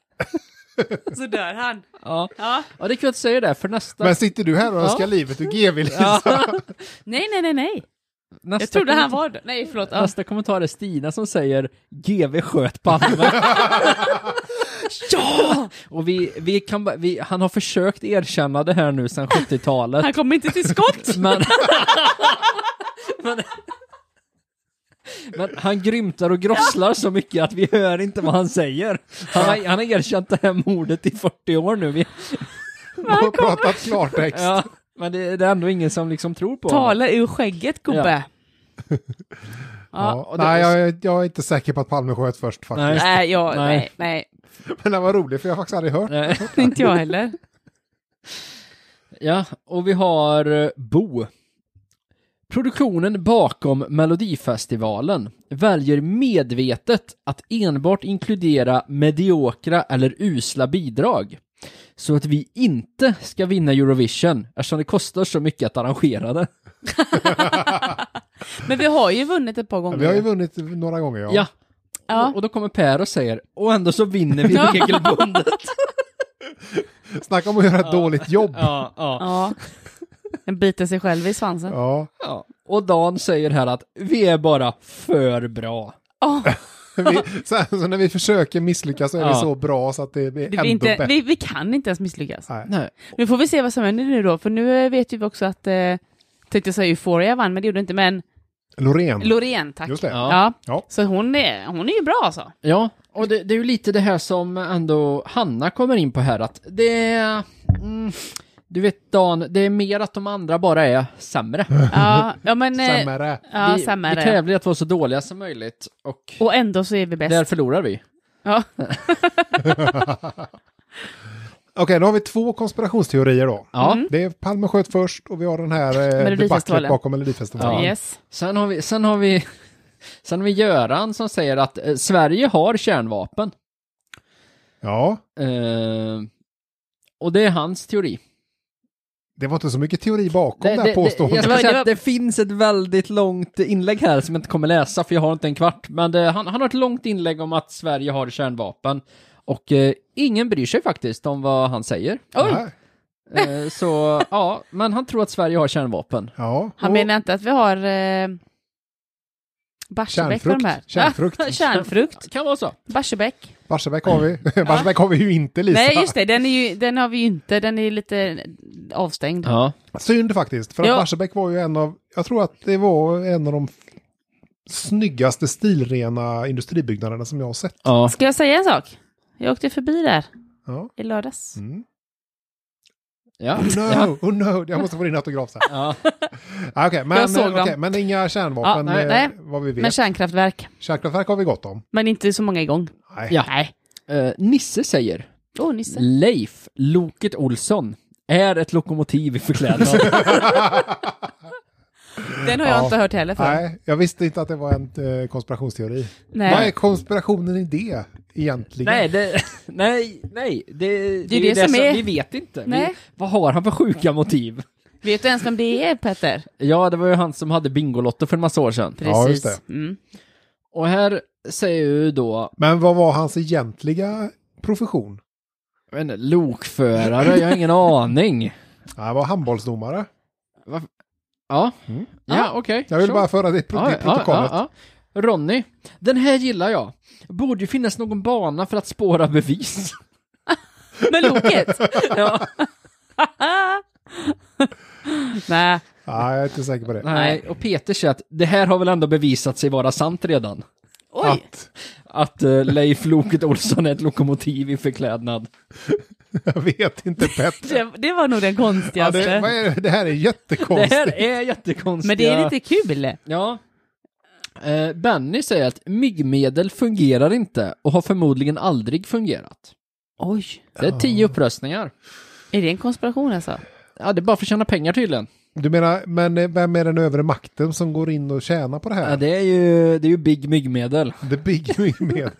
C: Så dör han.
B: Ja.
C: Ja.
B: ja, det är kul att du säger det, för nästa...
A: men sitter du här och önskar
B: Ja.
A: livet ur GW?
B: ja.
C: Nej, nej, nej, nej.
B: nästa
C: Jag trodde han
B: kommentar-
C: var... Nej, förlåt. Ja.
B: Nästa kommentar är Stina som säger GV sköt Palme. [LAUGHS] ja! Och vi, vi kan, bara- vi, han har försökt erkänna det här nu sedan 70-talet.
C: Han kom inte
A: [LAUGHS]
C: till skott.
B: Men, [LAUGHS] men, men han grymtar och grosslar så mycket att vi hör inte vad han säger. Han har, han har erkänt det här mordet i 40 år nu. Vi,
A: och pratat klartext.
B: ja, [LAUGHS] men det, det är ändå ingen som liksom tror på honom.
C: Tala ur skägget, gubbe.
A: Ja.
B: och det-
A: Nej, jag, är- jag är inte säker på att Palme sköt först faktiskt.
B: Nej.
C: Nej, jag,
B: Nej.
C: nej, nej,
A: Men det var roligt för jag har faktiskt aldrig hört.
B: Nej.
C: inte jag heller.
B: Ja, och vi har eh, Bo. Produktionen bakom Melodifestivalen väljer medvetet att enbart inkludera mediokra eller usla bidrag. Så att vi inte ska vinna Eurovision eftersom det kostar så mycket att arrangera det.
C: Men vi har ju vunnit ett par gånger.
A: Vi har ju vunnit några gånger ja.
B: Ja,
C: Ja.
B: Och, och då kommer Per och säger och ändå så vinner vi regelbundet.
A: Snacka om att göra ett dåligt jobb. Ja.
B: ja, ja,
C: ja. Den biter sig själv i svansen.
B: ja. Och Dan säger här att vi är bara för bra.
C: Åh,
A: Vi, så, så när vi försöker misslyckas så är vi
B: Ja.
A: så bra så att det blir
C: det
A: ändå
C: blir inte,
A: bättre.
C: vi, vi kan inte ens misslyckas.
A: Nej.
B: Nej.
C: Nu får vi se vad som händer nu då, för nu eh, vet ju vi också att, eh, tänkte jag säga Euphoria vann, men det gjorde inte, men
A: Loreen.
C: Loreen, tack.
A: Mm. Just det.
B: Ja.
C: Ja.
A: Ja.
C: Så hon är, hon är ju bra
A: [LAUGHS]
C: alltså.
B: Ja, och det, det är ju lite det här som ändå Hanna kommer in på här att det är... Mm, du vet Dan, det är mer att de andra bara är sämre.
C: Ja, ja men... eh,
A: Sämre.
C: Ja,
B: vi,
C: samma
B: vi
C: är det.
B: tävlar i att vara så dåliga som möjligt och
C: Och ändå så är vi bäst.
B: där förlorar vi.
C: Ja.
A: Okej, då har vi två konspirationsteorier då. Mm.
B: Ja.
A: Det är Palme sköt först och vi har den här eh, debaclet
C: Melodifestivalen.
A: bakom Melodifestivalen.
B: Ja.
C: Yes.
B: Sen har vi, sen har vi, sen har vi Göran som säger att eh, Sverige har kärnvapen.
A: Ja,
B: Eh, och det är hans teori.
A: det var inte så mycket teori bakom det, här
B: jag
A: påståendet.
B: ska
C: Det var-
B: säga
C: det
B: att
C: var-
B: det finns ett väldigt långt inlägg här som jag inte kommer läsa för jag har inte en kvart. Men det, han, han har ett långt inlägg om att Sverige har kärnvapen. Och eh, ingen bryr sig faktiskt om vad han
C: [LAUGHS]
B: säger.
A: Nej.
B: Eh, så ja, men han tror att Sverige har kärnvapen.
A: Ja.
C: Han
A: Och
C: menar inte att vi har eh, Barsebäck för de här.
A: Kärnfrukt.
C: [LAUGHS]
A: Kärnfrukt.
C: Ja, Kärnfrukt.
B: Kan vara så.
C: Barsebäck.
A: Barsebäck har vi. [LAUGHS] Barsebäck har vi ju inte Lisa.
C: Nej, just det. Den, är ju, den har vi ju inte. Den är lite avstängd.
B: Ja.
A: Synd faktiskt, för att
C: Ja.
A: Barsebäck var ju en av, jag tror att det var en av de f- snyggaste stilrena industribyggnaderna som jag har sett.
B: ja.
C: Ska jag säga en sak? Jag åkte förbi där [LAUGHS]
A: Ja.
C: i lördags.
A: Mm.
B: ja.
A: Oh no, oh no, jag måste få din autograf sen.
B: ja.
A: [LAUGHS] Ah, Okej, men,
C: Jag såg dem.
A: okej, men inga kärnvapen,
C: Ja, nej,
A: eh,
C: nej.
A: vad vi vet.
C: Men kärnkraftverk.
A: Kärnkraftverk har vi gott om.
C: Men inte så många igång.
A: Nej.
B: Ja.
C: Nej.
B: Eh, Nisse säger
C: Åh, Nisse.
B: Leif Loket Olsson är ett lokomotiv i [LAUGHS] förklädnad.
C: Den har jag
A: Ja.
C: inte hört heller förrän.
A: Nej, jag visste inte att det var en eh, konspirationsteori.
C: Nej.
A: Vad är konspirationen i det egentligen?
B: nej, det, [LAUGHS] nej, nej, det, det,
C: det
B: ju
C: som är-
B: vi vet inte. Vi,
C: Nej.
B: vad har han för sjuka motiv?
C: Vet du ens vem det är, Petter?
B: [LAUGHS] Ja, det var ju han som hade Bingolotto för en massa år sedan.
C: Precis.
A: Ja, just det.
C: Mm.
B: Och här säger ju då,
A: Men vad var hans egentliga profession?
B: jag vet inte, lokförare, jag har ingen aning.
A: Han Ah, var handbollsdomare.
B: Ja,
A: Mm.
B: ja okej.
A: Jag vill
B: sure.
A: bara föra det i pro-
C: Ah,
B: Ja,
A: till protokollet.
B: ja, ja. Ronny, den här gillar jag. Borde ju finnas någon bana för att spåra bevis.
A: [LAUGHS]
C: Med loket?
B: ja.
C: [LAUGHS] Nej.
A: Nej, Ah, jag är inte säker på det.
B: Nej, och Peter säger att det här har väl ändå bevisat sig vara sant redan.
C: Oj.
A: Att,
B: Att eh, Leif Loket Olsson är ett lokomotiv i förklädnad.
A: jag vet inte Petter.
C: Det, det var nog den
A: Ja,
C: konstigaste.
A: det, vad är, det? det här är
B: Det
A: jättekonstigt.
B: här är jättekonstigt.
C: Men det är lite kul.
B: Ja. Eh, Benny säger att myggmedel fungerar inte och har förmodligen aldrig fungerat.
C: Oj.
B: Det är tio uppröstningar.
C: Är det en konspiration alltså?
B: Ja, det är bara för att tjäna pengar tydligen.
A: Du menar, men eh, vem är den övre makten som går in och tjänar på det här?
B: Ja, det är ju, det är ju big myggmedel.
A: The big big media.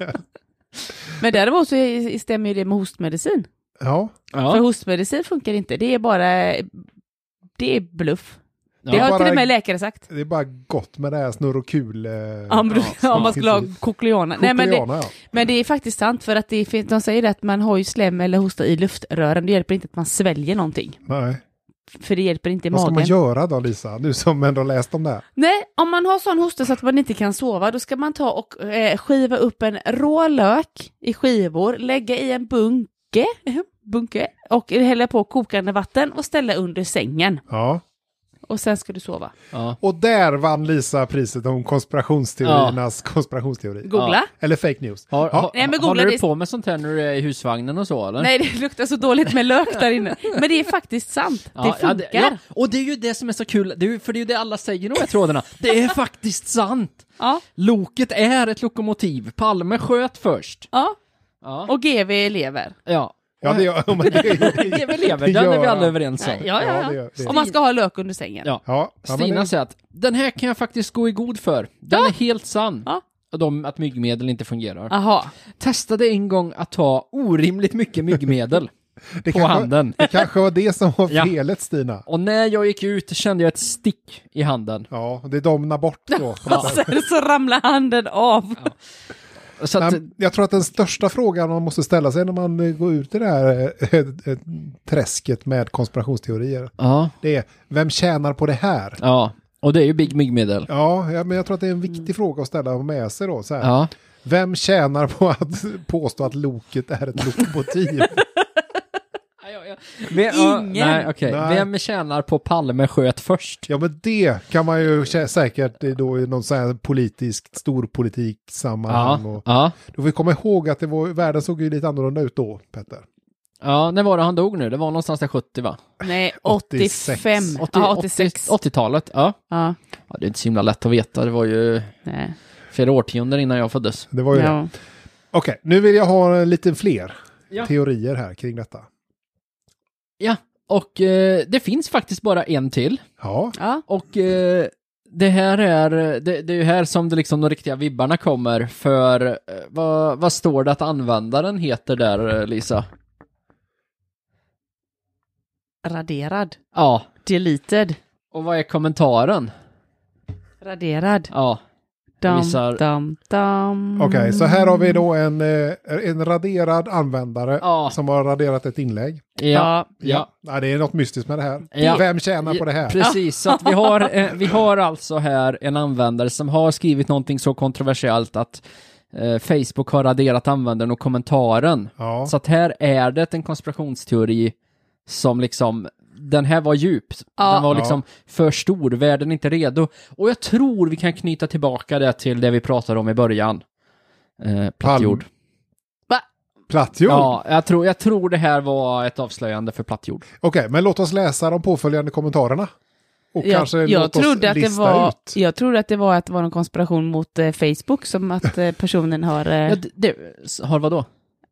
C: Men däremot så är- stämmer ju det med hostmedicin.
A: Ja,
C: För
B: Ja,
C: hostmedicin funkar inte. Det är bara... Det är bluff.
B: Ja.
C: det har
A: Bara-
C: till och med läkare sagt.
A: det är bara gott med det här snurr och kul. eh,
C: Om, du-
A: ja,
C: om man skulle ha
A: precis.
C: kokliana. Nej, men, det,
A: kokliana, ja.
C: men det är faktiskt sant för att det finns, de säger det att man har ju slem eller hosta i luftrören. Det hjälper inte att man sväljer någonting.
A: Nej.
C: För det hjälper inte i
A: Vad ska man
C: magen.
A: göra då Lisa, nu som ändå läst om det här?
C: Nej, om man har sån hosta så att man inte kan sova, då ska man ta och eh, skiva upp en rå lök i skivor, lägga i en bunke, [LAUGHS] bunke och hälla på kokande vatten och ställa under sängen.
A: Ja.
C: Och sen ska du sova.
B: ja.
A: Och där vann Lisa priset om konspirationsteoriernas konspirationsteori.
C: Googla.
A: Eller fake news.
B: Har,
A: Ja.
B: har,
C: Nej, men googla
B: håller du
C: det-
B: på med sånt här när du är i husvagnen och så eller?
C: Nej, det luktar så dåligt med lök där inne. Men det är faktiskt sant. det
B: ja,
C: funkar. Ja,
B: ja, och det är ju det som är så kul, det är, ju- för det är ju det alla säger i de här trådarna. Det är faktiskt sant!
C: ja,
B: Loket är ett lokomotiv, Palme sköt först. Ja.
C: Och GV lever.
B: Ja,
A: Ja, det gör ja, men
B: [LAUGHS]
A: det.
B: det är väl lever,
A: Det
B: den är
A: gör
B: vi alla
A: han.
B: överens
C: Ja,
B: om.
C: ja,
A: Ja,
C: ja.
A: det gör- det-
C: Om man ska ha lök under sängen.
B: Ja.
A: Ja, ja, men
B: Stina
A: det-
B: säger att den här kan jag faktiskt gå i god för. Den är helt sann.
C: Ja.
B: Och de, att myggmedel inte fungerar.
C: Aha.
B: Testade en gång att ta orimligt mycket
C: [LAUGHS]
B: myggmedel
A: det
B: på
A: kanske-
B: handen.
A: Det kanske var det som var
B: Ja.
A: felet Stina.
B: Och när jag gick ut kände jag ett stick i handen.
A: Ja, det domnar bort
B: [LAUGHS]
A: då.
C: Och sen så ramlar handen av.
B: Så att,
A: Nej, jag tror att den största frågan man måste ställa sig när man eh, går ut i det här eh, eh, träsket med konspirationsteorier,
B: ja,
A: det är vem tjänar på det här?
B: ja. Och det är ju big myggmedel.
A: Ja, ja, men jag tror att det är en viktig fråga att ställa med sig då. Så här.
B: Mm. Ja.
A: Vem [LAUGHS]
B: [LAUGHS]
A: tjänar på att påstå att loket är ett lokomotiv?
B: Jag, Vem, ja,
C: Ingen.
B: nej, okej.
A: Nej.
B: Vem tjänar på Palme sköt först?
A: Ja men det kan man ju kä- säkert det är då i någon sån här politisk, storpolitik
B: Ja,
A: sammanhang. Och,
B: ja.
A: då får vi komma ihåg att det var, världen såg ju lite annorlunda ut då, Petter.
B: ja, när var det han dog nu? Det var någonstans där 70 va?
C: Nej,
A: [LAUGHS] 86.
C: 85.
B: 80,
C: ja, 86.
B: 80, 80-talet, ja.
C: Ja,
B: ja. Det är inte så himla lätt att veta, det var ju
C: nej.
B: flera årtionden innan jag föddes.
A: Det var ju det.
C: Ja.
A: Okej, nu vill jag ha eh, lite fler
B: Ja.
A: teorier här kring detta.
B: Ja, och eh, det finns faktiskt bara en till.
A: Ja,
C: Ja.
B: Och eh, det här är, det, det är ju här som det liksom de riktiga vibbarna kommer för, eh, vad, vad står det att användaren heter där eh, Lisa?
C: Raderad.
B: Ja,
C: Deleted.
B: och vad är kommentaren?
C: Raderad.
B: Ja,
C: Dum,
B: visar-
C: dum, dum.
A: okej, så här har vi då en, eh, en raderad användare
B: Ja.
A: som har raderat ett inlägg.
B: ja,
C: Ja.
B: ja.
A: Nej, det är något mystiskt med det här.
B: Ja.
A: Vem tjänar på det här?
B: Precis, så att vi har, eh, vi har alltså här en användare som har skrivit någonting så kontroversiellt att eh, Facebook har raderat användaren och kommentaren.
A: Ja,
B: Så att här är det en konspirationsteori som liksom, den här var djup.
C: Ja.
B: Den var
A: Ja.
B: liksom för stor, världen är inte redo. Och jag tror vi kan knyta tillbaka det till det vi pratade om i början. Eh, plattjord.
C: Va?
A: plattjord.
B: Ja, jag tror, jag tror det här var ett avslöjande för plattjord.
A: Okej, men låt oss läsa de påföljande kommentarerna. Och
C: Jag,
A: kanske
C: jag,
A: låt oss
C: trodde att det
A: lista
C: var,
A: ut.
C: jag trodde att det var att det var en konspiration mot eh, Facebook, som att eh, personen har... Eh,
B: Ja, det, det, har vadå?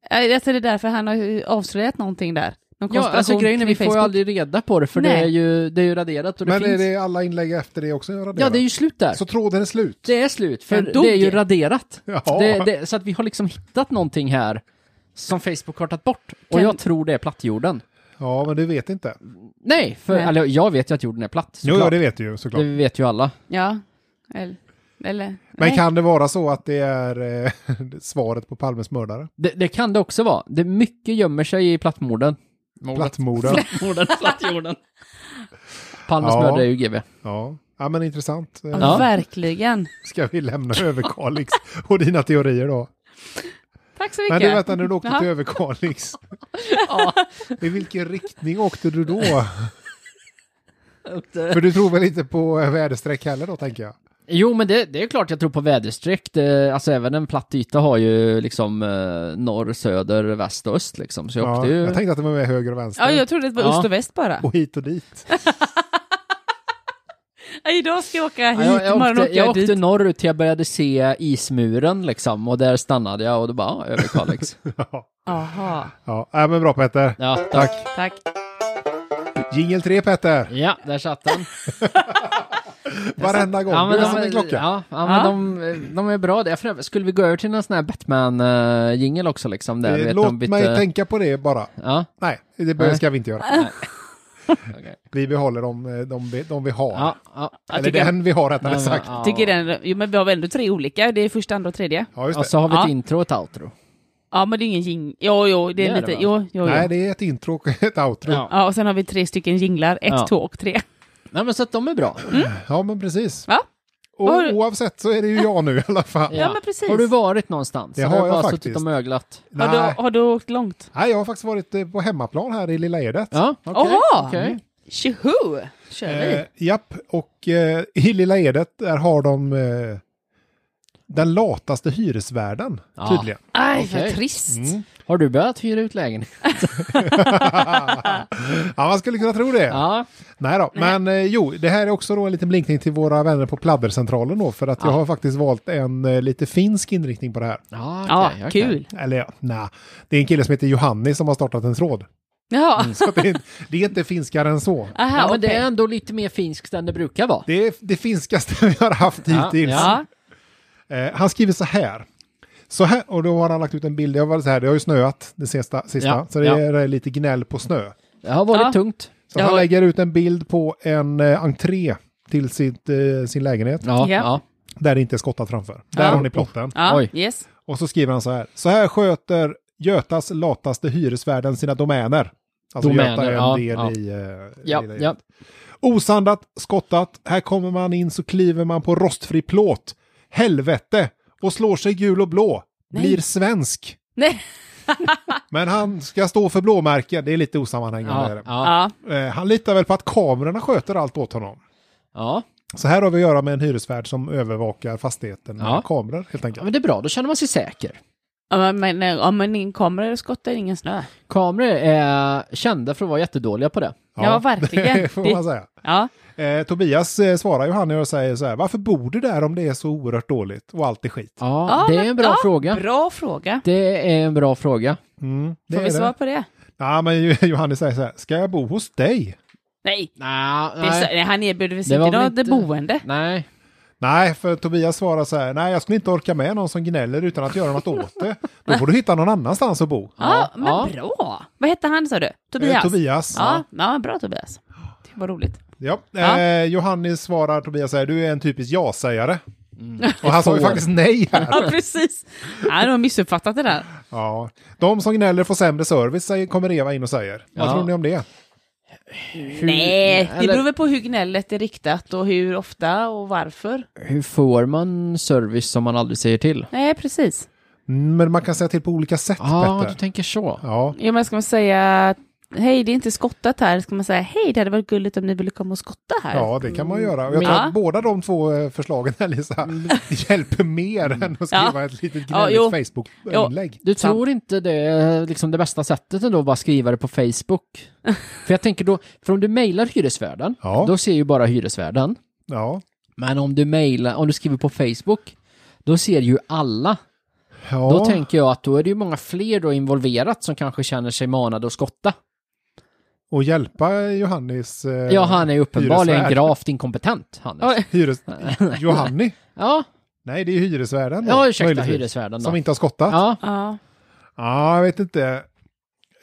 C: jag, jag tror det är därför han har ju avslöjat någonting där. Någon
B: Ja,
C: konspiration
B: alltså grejen är vi
C: kring
B: får ju
C: Facebook.
B: aldrig reda på det för det
C: Nej.
B: är, ju, det är ju raderat och det
A: Men
B: finns...
A: är det alla inlägg efter det också raderat?
B: Ja, det är ju slut där.
A: Så tråden är slut.
B: Det är slut, för
C: Den dog
B: det är ju
C: ju.
B: raderat.
A: Ja.
B: Det, det, så att vi har liksom hittat någonting här som Facebook har tagit bort. Och
C: Kan-
B: jag tror det är plattjorden.
A: Ja, men du vet inte.
B: Nej, för
C: Nej.
B: Eller, jag vet ju att jorden är platt.
A: Jo, ja,
B: såklart.
A: det vet du ju såklart.
B: det vet ju alla.
C: Ja, eller... eller
A: Men
C: nej.
A: kan det vara så att det är eh, [LAUGHS] svaret på Palmes mördare?
B: Det, det kan det också vara. Det mycket gömmer sig i plattmorden.
A: Plattmorden.
B: [LAUGHS]
A: [LAUGHS]
B: Morden, plattjorden. Palmes
A: Ja.
B: mördare är ju GB.
A: Ja. ja, men intressant. Eh,
C: ja.
B: Ja.
C: Verkligen.
A: Ska vi lämna Överkalix och dina teorier då?
C: Tack så
A: Men
C: mycket.
A: du, vänta nu, du åkte
C: Jaha.
A: till
C: [LAUGHS]
A: Överkalix.
B: Ja.
A: I vilken riktning åkte du då? För du tror väl inte på eh, väderstreck heller då, tänker jag?
B: Jo, men det, det är klart jag tror på väderstreck. Det, alltså även en platt yta har ju liksom eh, norr, söder, väst och öst liksom. Så jag
A: Ja,
B: åkte ju...
A: jag tänkte att det var med höger och vänster.
C: Ja, jag trodde det var
B: Ja.
C: öst och väst bara.
A: Och hit och dit.
C: Ja, Idag ska jag åka hit,
B: Ja, jag, jag,
C: imorgon
B: åkte,
C: åker
B: jag
C: jag dit.
B: åkte norrut till jag började se ismuren liksom och där stannade jag och då bara, ah, över [LAUGHS] Kalix.
A: Ja,
C: Jaha,
A: ja. ja men bra Petter.
B: Ja, tack.
C: tack.
A: Jingel 3 Petter.
B: Ja, där satt den.
A: Varenda gång.
B: [LAUGHS] Ja,
A: du är
B: de,
A: som en klocka.
B: Ja, ja,
C: Ja.
B: men de, de är bra där. För övrigt, Skulle vi gå över till någon sån här Batman-jingel också liksom? Där, du
A: Eh,
B: vet,
A: Låt
B: de bytte-
A: mig tänka på det bara.
B: Ja,
A: Nej, det bör-
B: Nej.
A: ska vi inte göra.
B: okej.
A: Vi behåller de, eh, de, vi- de vi har.
B: ja, ja.
A: Eller den vi har rättare sagt.
B: Ja,
C: Tycker den, jo, men vi har väl ändå tre olika, det är första, andra och tredje.
A: Ja, just det.
B: Och så har vi ett
C: Ja.
B: intro och ett outro.
C: Ja, men det är ingen jing... Jo, jo, det
B: Det
C: är
B: är
C: lite...
B: det, va?
C: jo, jo,
A: Nej,
C: jo.
A: det är ett intro och ett outro. Ja,
B: Ja.
C: Oh, Ja, och sen har vi tre stycken jinglar, ett,
B: Ja.
C: två och tre.
B: Nej, men så att de är bra.
A: men precis.
C: Va?
A: Och,
C: Vad har du-
A: oavsett så är det ju jag nu i alla fall.
C: Ja, men precis.
B: Har du varit någonstans?
A: Det
B: Eller
A: har
B: du
A: jag
B: bara
A: faktiskt.
B: suttit och möglat?
C: Har du,
A: Nej.
C: har du åkt långt?
A: Nej, jag har faktiskt varit eh, på hemmaplan här i Lilla Edet.
B: Ja, okej.
C: Jaha!
B: okej.
C: Tjoho! Kör vi.
A: Eh, japp, och eh, i Lilla Edet där har de eh, den lataste hyresvärden
B: Ja.
A: tydligen.
C: Aj, vad
B: okej.
C: trist.
B: Har du börjat hyra ut lägenhet?
A: Ja, man skulle kunna tro det.
B: Ja.
A: Nej då, men eh, jo, det här är också då en liten blinkning till våra vänner på Pladdercentralen då, för att jag har faktiskt valt en eh, lite finsk inriktning på det här.
B: Ja,
C: Ja,
B: okej, okej.
C: kul.
A: Eller ja, nej, det är en kille som heter Johanni som har startat en tråd.
C: Jaha,
A: Så att [LAUGHS] det, är, inte- det är inte finskare än så.
C: [LAUGHS] aha,
B: Ja, men det
C: okej.
B: är ändå lite mer finskt än det brukar vara.
A: Det är det finskaste vi har haft
B: Ja,
A: hittills.
C: Ja,
A: Eh, han skriver så här. Så här, och då har han lagt ut en bild, jag var så här, det har ju snöat det sista, sista
B: Ja,
A: så det
B: ja.
A: är eh, lite gnäll på snö.
B: Det har varit
C: Ja.
B: tungt.
A: Så
C: Ja.
A: han lägger ut en bild på en eh, entré till sitt, eh, sin lägenhet,
B: Ja,
C: Ja.
B: ja.
A: där det inte är skottat framför. Där
B: Ja.
A: har ni plotten.
C: ja
B: Oj.
C: yes.
A: Och så skriver han så här. Så här sköter Götas lataste hyresvärden sina domäner. Alltså
B: Domäner,
A: Göta är en
B: ja,
A: del
B: ja.
A: i... eh,
B: Ja,
A: lilla-
B: ja.
A: Osandat, skottat, här kommer man in så kliver man på rostfri plåt. Helvete! Och slår sig gul och blå.
C: Nej.
A: Blir svensk.
C: Nej,
A: Men han ska stå för blåmärken, det är lite
B: Ja,
A: osammanhängande. Ja,
B: ja,
A: Eh, Han litar väl på att kamerorna sköter allt åt honom.
B: ja.
A: Så här har vi att göra med en hyresvärd som övervakar fastigheten med
B: Ja.
A: kameror helt
B: ja,
A: enkelt.
B: men det är bra, då känner man sig säker.
C: Ja, men eh, om man in kommer och skottar ingen snö.
B: Kameror är kända för att vara jättedåliga på det.
C: Ja, verkligen.
A: [LAUGHS] Det får man säga.
C: Ja,
A: Eh, Tobias eh, svarar ju han och säger så här, varför bor du där om det är så oerhört dåligt och allt är skit?
B: Ja,
C: Ja,
B: det är
C: men-
B: en bra
C: ja,
B: fråga.
C: bra fråga.
B: Det är en bra fråga.
A: Mm, det
C: Får
A: är
C: vi svar
A: det.
C: på det?
A: Ja, men ju- Johannes säger så här, ska jag bo hos dig?
C: Nej,
B: Nah,
C: det är så,
B: nej,
C: nej, han erbjuder visst
B: Det var
C: inte
B: väl
C: något
B: inte-
C: boende.
B: nej.
A: Nej, för Tobias svarar så här, nej jag skulle inte orka med någon som gnäller utan att göra något åt det. Då får du hitta någon annanstans att bo.
C: Ja, men
B: ja.
C: bra. Vad hette han sa du?
A: Eh,
C: Tobias?
A: Tobias.
C: Ja, ja, bra Tobias. Det var roligt.
A: Ja.
C: Ja.
A: Eh, Johannes svarar Tobias så här, du är en typisk ja-sägare.
C: Mm.
A: Och han sa ju faktiskt nej här.
C: Ja, precis. Han har missuppfattat det där.
A: Ja. De som gnäller får sämre service, säger- kommer Eva in och säger. Vad
B: Ja.
A: tror ni om det?
B: Hur,
C: Nej, det
B: eller
C: beror väl på hur gnället är riktat och hur ofta och varför.
B: Hur får man service som man aldrig säger till?
C: Nej, precis.
A: Mm, Men man kan säga till på olika sätt,
C: Ah,
B: Ja,
A: Petter.
B: du tänker så.
A: Ja.
C: Ja, men ska man säga hej, det är inte skottat här, ska man säga hej, det hade varit gulligt om ni ville komma och skotta här.
A: ja, det kan man göra. Och jag tror
C: Men- Mm. Ja. Mm.
A: att båda de två eh, förslagen här, Lisa, hjälper mer än att skriva ett litet
C: Ja,
A: gnälligt
C: Jo.
A: Facebook-inlägg.
B: Du
C: Sant.
B: tror inte det är liksom det bästa sättet ändå att bara skriva det
A: [LAUGHS]
B: på Facebook? för jag tänker då, för om du mejlar hyresvärden,
A: Ja.
B: då ser ju bara hyresvärden.
A: Ja.
B: Men om du mailar, om du skriver på Facebook, då ser ju alla.
A: Ja.
B: Då tänker jag att då är det ju många fler då involverat som kanske känner sig manade att skotta.
A: Och hjälpa Johannes... eh,
B: Ja, han är ju uppenbarligen
A: hyresvärd.
B: gravt inkompetent, Hannes.
C: Oj.
A: Hyres...
B: [LAUGHS]
A: Johanni?
B: Ja,
A: Nej, det är hyresvärden. då,
B: ja ursäkta,
A: möjligtvis.
B: hyresvärden
A: Som
B: då.
A: inte har skottat? Ja,
B: Ja,
C: Ja.
A: jag vet inte.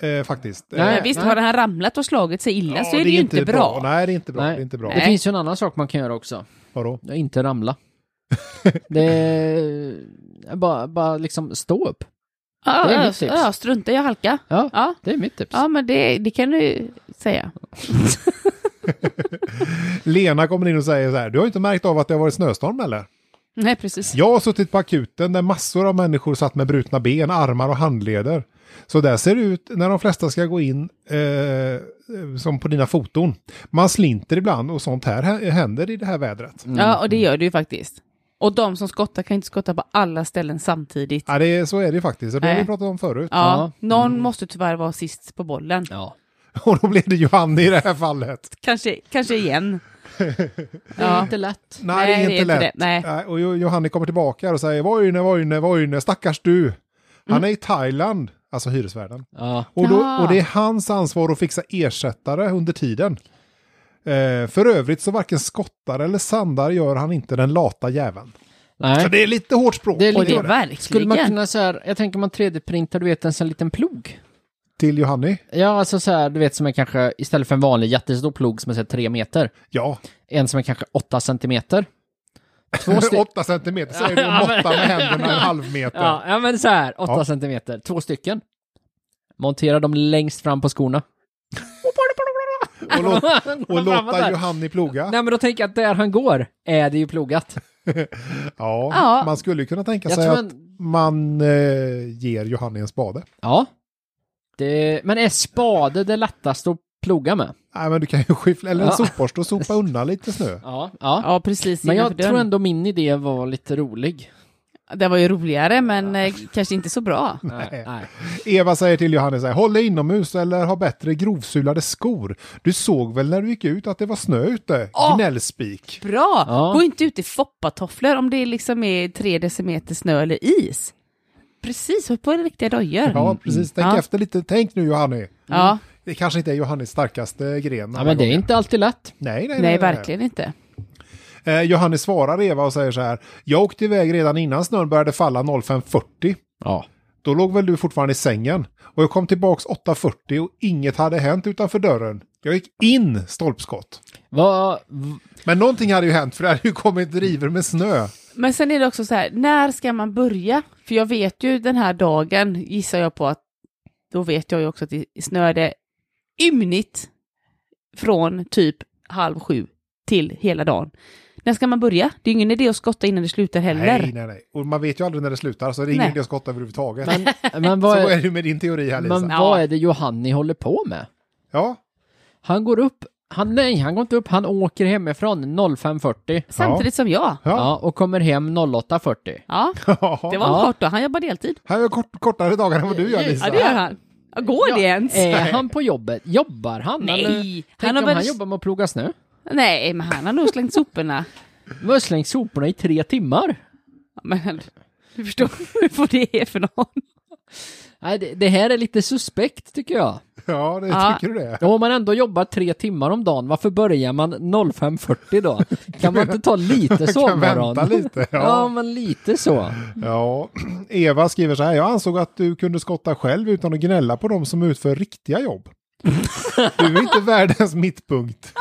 A: Eh, faktiskt.
B: Nej,
C: Men visst,
B: nej.
C: har han ramlat och slagit sig illa
A: Ja,
C: så är det, ju inte bra.
A: Nej, det är inte bra.
B: Nej.
A: Det är inte bra.
B: det finns ju en annan sak man kan göra också.
A: Vadå?
B: Ja, Inte ramla. det är bara, bara liksom stå upp.
C: Ja,
B: Det är
C: ja,
B: mitt tips.
C: ja, strunta i att halka.
B: Ja,
C: Ja,
B: det är mitt tips.
C: ja men det, det kan du ju säga.
A: Lena kommer in och säger så här, du har ju inte märkt av att det har varit snöstorm eller?
C: Nej, precis.
A: Jag har suttit på akuten där massor av människor satt med brutna ben, armar och handleder. Så där ser det ut när de flesta ska gå in, eh, som på dina foton. Man slinter ibland och sånt här hä- händer i det här vädret.
C: Ja, och det gör du ju faktiskt. Och de som skottar kan inte skotta på alla ställen samtidigt. Ja,
A: Ja, det är, så är det ju faktiskt. Och Det har vi
C: Nej.
A: pratat om förut.
B: Ja.
C: någon måste tyvärr vara sist på bollen.
B: Ja.
A: [LAUGHS] Och då blev det Johanne i det här fallet.
C: Kanske, kanske
B: [LAUGHS]
C: igen.
B: Det är inte lätt.
A: Nej, det är inte lätt.
C: det. Nej.
A: Nej, Och Jo- Johanne kommer tillbaka och säger Vojne, Vojne, Vojne, stackars du. Han är i Thailand, alltså hyresvärden.
B: Ja.
A: Och, då,
C: Ah.
A: och det är hans ansvar att fixa ersättare under tiden. Eh, för övrigt så varken skottar eller sandar gör han inte den lata jäveln. Så
B: Nej.
A: det är lite hårt språk.
B: Det är
C: Och det
B: lite-
C: är verkligen.
B: Skulle man kunna så här, jag tänker man 3D-printar, du vet en sån liten plog.
A: Till Johanni?
B: Ja, alltså så här, du vet som är kanske, istället för en vanlig jättestor plog som är så här, tre meter,
A: Ja,
B: en som är kanske åtta centimeter.
A: [LAUGHS]
B: Två stycken.
A: 8 centimeter säger du och måttar med händerna en halv meter.
B: Ja, ja, men så här, åtta
A: Ja.
B: centimeter, två stycken. Montera dem längst fram på skorna.
A: Och, låt, och
B: Fram och
A: låta
B: där.
A: Johanni ploga.
B: Nej men då tänker jag att där han går är det ju plogat.
A: Ja,
C: Ja.
A: man skulle ju kunna tänka
B: Alltså, Jag
A: sig
B: tror
A: att man eh, ger Johanni en spade.
B: Ja. Det, men är spade det lättaste att ploga med?
A: Nej, men du kan ju skyffla, eller en
B: Ja.
A: sopborste och
B: [LAUGHS]
A: sopa undan lite snö.
B: Ja. ja.
C: Ja, precis.
B: men jag
C: innanför
B: tror
C: dörren.
B: ändå min idé var lite rolig.
C: Det var ju roligare, men eh, kanske inte så bra.
B: Nej. Nej.
A: [LAUGHS] Eva säger till Johannes, så här, håll dig inomhus eller ha bättre grovsulade skor. Du såg väl när du gick ut att det var snö ute?
C: Åh!
A: Gnällspik.
C: Bra!
B: Ja.
C: Gå inte ut i foppatofflor om det liksom är tre decimeter snö eller is. Precis, håll på i riktiga dojor.
B: Mm.
A: Ja, precis. Tänk
C: Ja.
A: efter lite. Tänk nu Johanni.
C: Ja.
A: Det kanske inte är Johannes starkaste gren.
B: Ja, men det är inte alltid lätt.
A: Nej, nej, nej,
C: Nej,
A: nej.
C: verkligen inte.
A: Eh, Johannes svarar Eva och säger så här. Jag åkte iväg redan innan snön började falla 05.40.
B: Ja.
A: Då låg väl du fortfarande i sängen. Och jag kom tillbaks 8.40 och inget hade hänt utanför dörren. Jag gick in stolpskott.
B: Vad...
A: Men någonting hade ju hänt för det hade ju kommit river med snö.
C: Men sen är det också så här, när ska man börja? För jag vet ju den här dagen, gissar jag på att då vet jag ju också att det snöade ymnigt från typ halv sju till hela dagen. När ska man börja? Det är ju ingen idé att skotta innan det slutar heller.
A: Nej, nej, nej. Och man vet ju aldrig när det slutar, så det är
C: Nej.
A: ingen idé att skotta överhuvudtaget.
B: Men
A: [LAUGHS] så
B: vad
A: är
B: är,
A: det ju med din teori här, Lisa.
B: men
C: Ja.
B: vad är det Johanni håller på med?
A: Ja, [LAUGHS]
B: Han går upp, han, nej han går inte upp, han åker hemifrån 05.40.
C: Samtidigt som jag.
B: Ja.
A: ja.
B: och kommer hem
C: [LAUGHS]
B: 08.40.
C: Ja, det var
B: Ja.
C: kort då. Han jobbar deltid.
A: Han gör kort, kortare dagar än vad du gör, Lisa.
C: Ja, det gör han. Ja, Går det ens?
B: Är han på jobbet? Jobbar han? Eller?
C: Nej,
B: Eh, Tänk
C: han har
B: om han
C: bara...
B: jobbar med att ploga snö.
C: Nej, men han har nog slängt soporna.
B: Nu har slängt soporna i tre timmar.
C: Ja, Men du förstår [LAUGHS] vad det är för någon.
B: Nej, det, det här är lite suspekt tycker jag.
A: Ja, det
C: Ja.
A: tycker du det.
B: Ja, Om man ändå jobbar tre timmar om dagen, varför börjar man 05.40 då? Kan man inte
A: [LAUGHS]
B: ta lite
A: Kan
B: sovmorgon?
A: vänta lite.
B: Ja.
A: Ja.
B: men lite så.
A: ja. [CLEARS THROAT] Eva skriver så här. Jag ansåg att du kunde skotta själv utan att gnälla på de som utför riktiga jobb. [LAUGHS] Du är inte världens mittpunkt.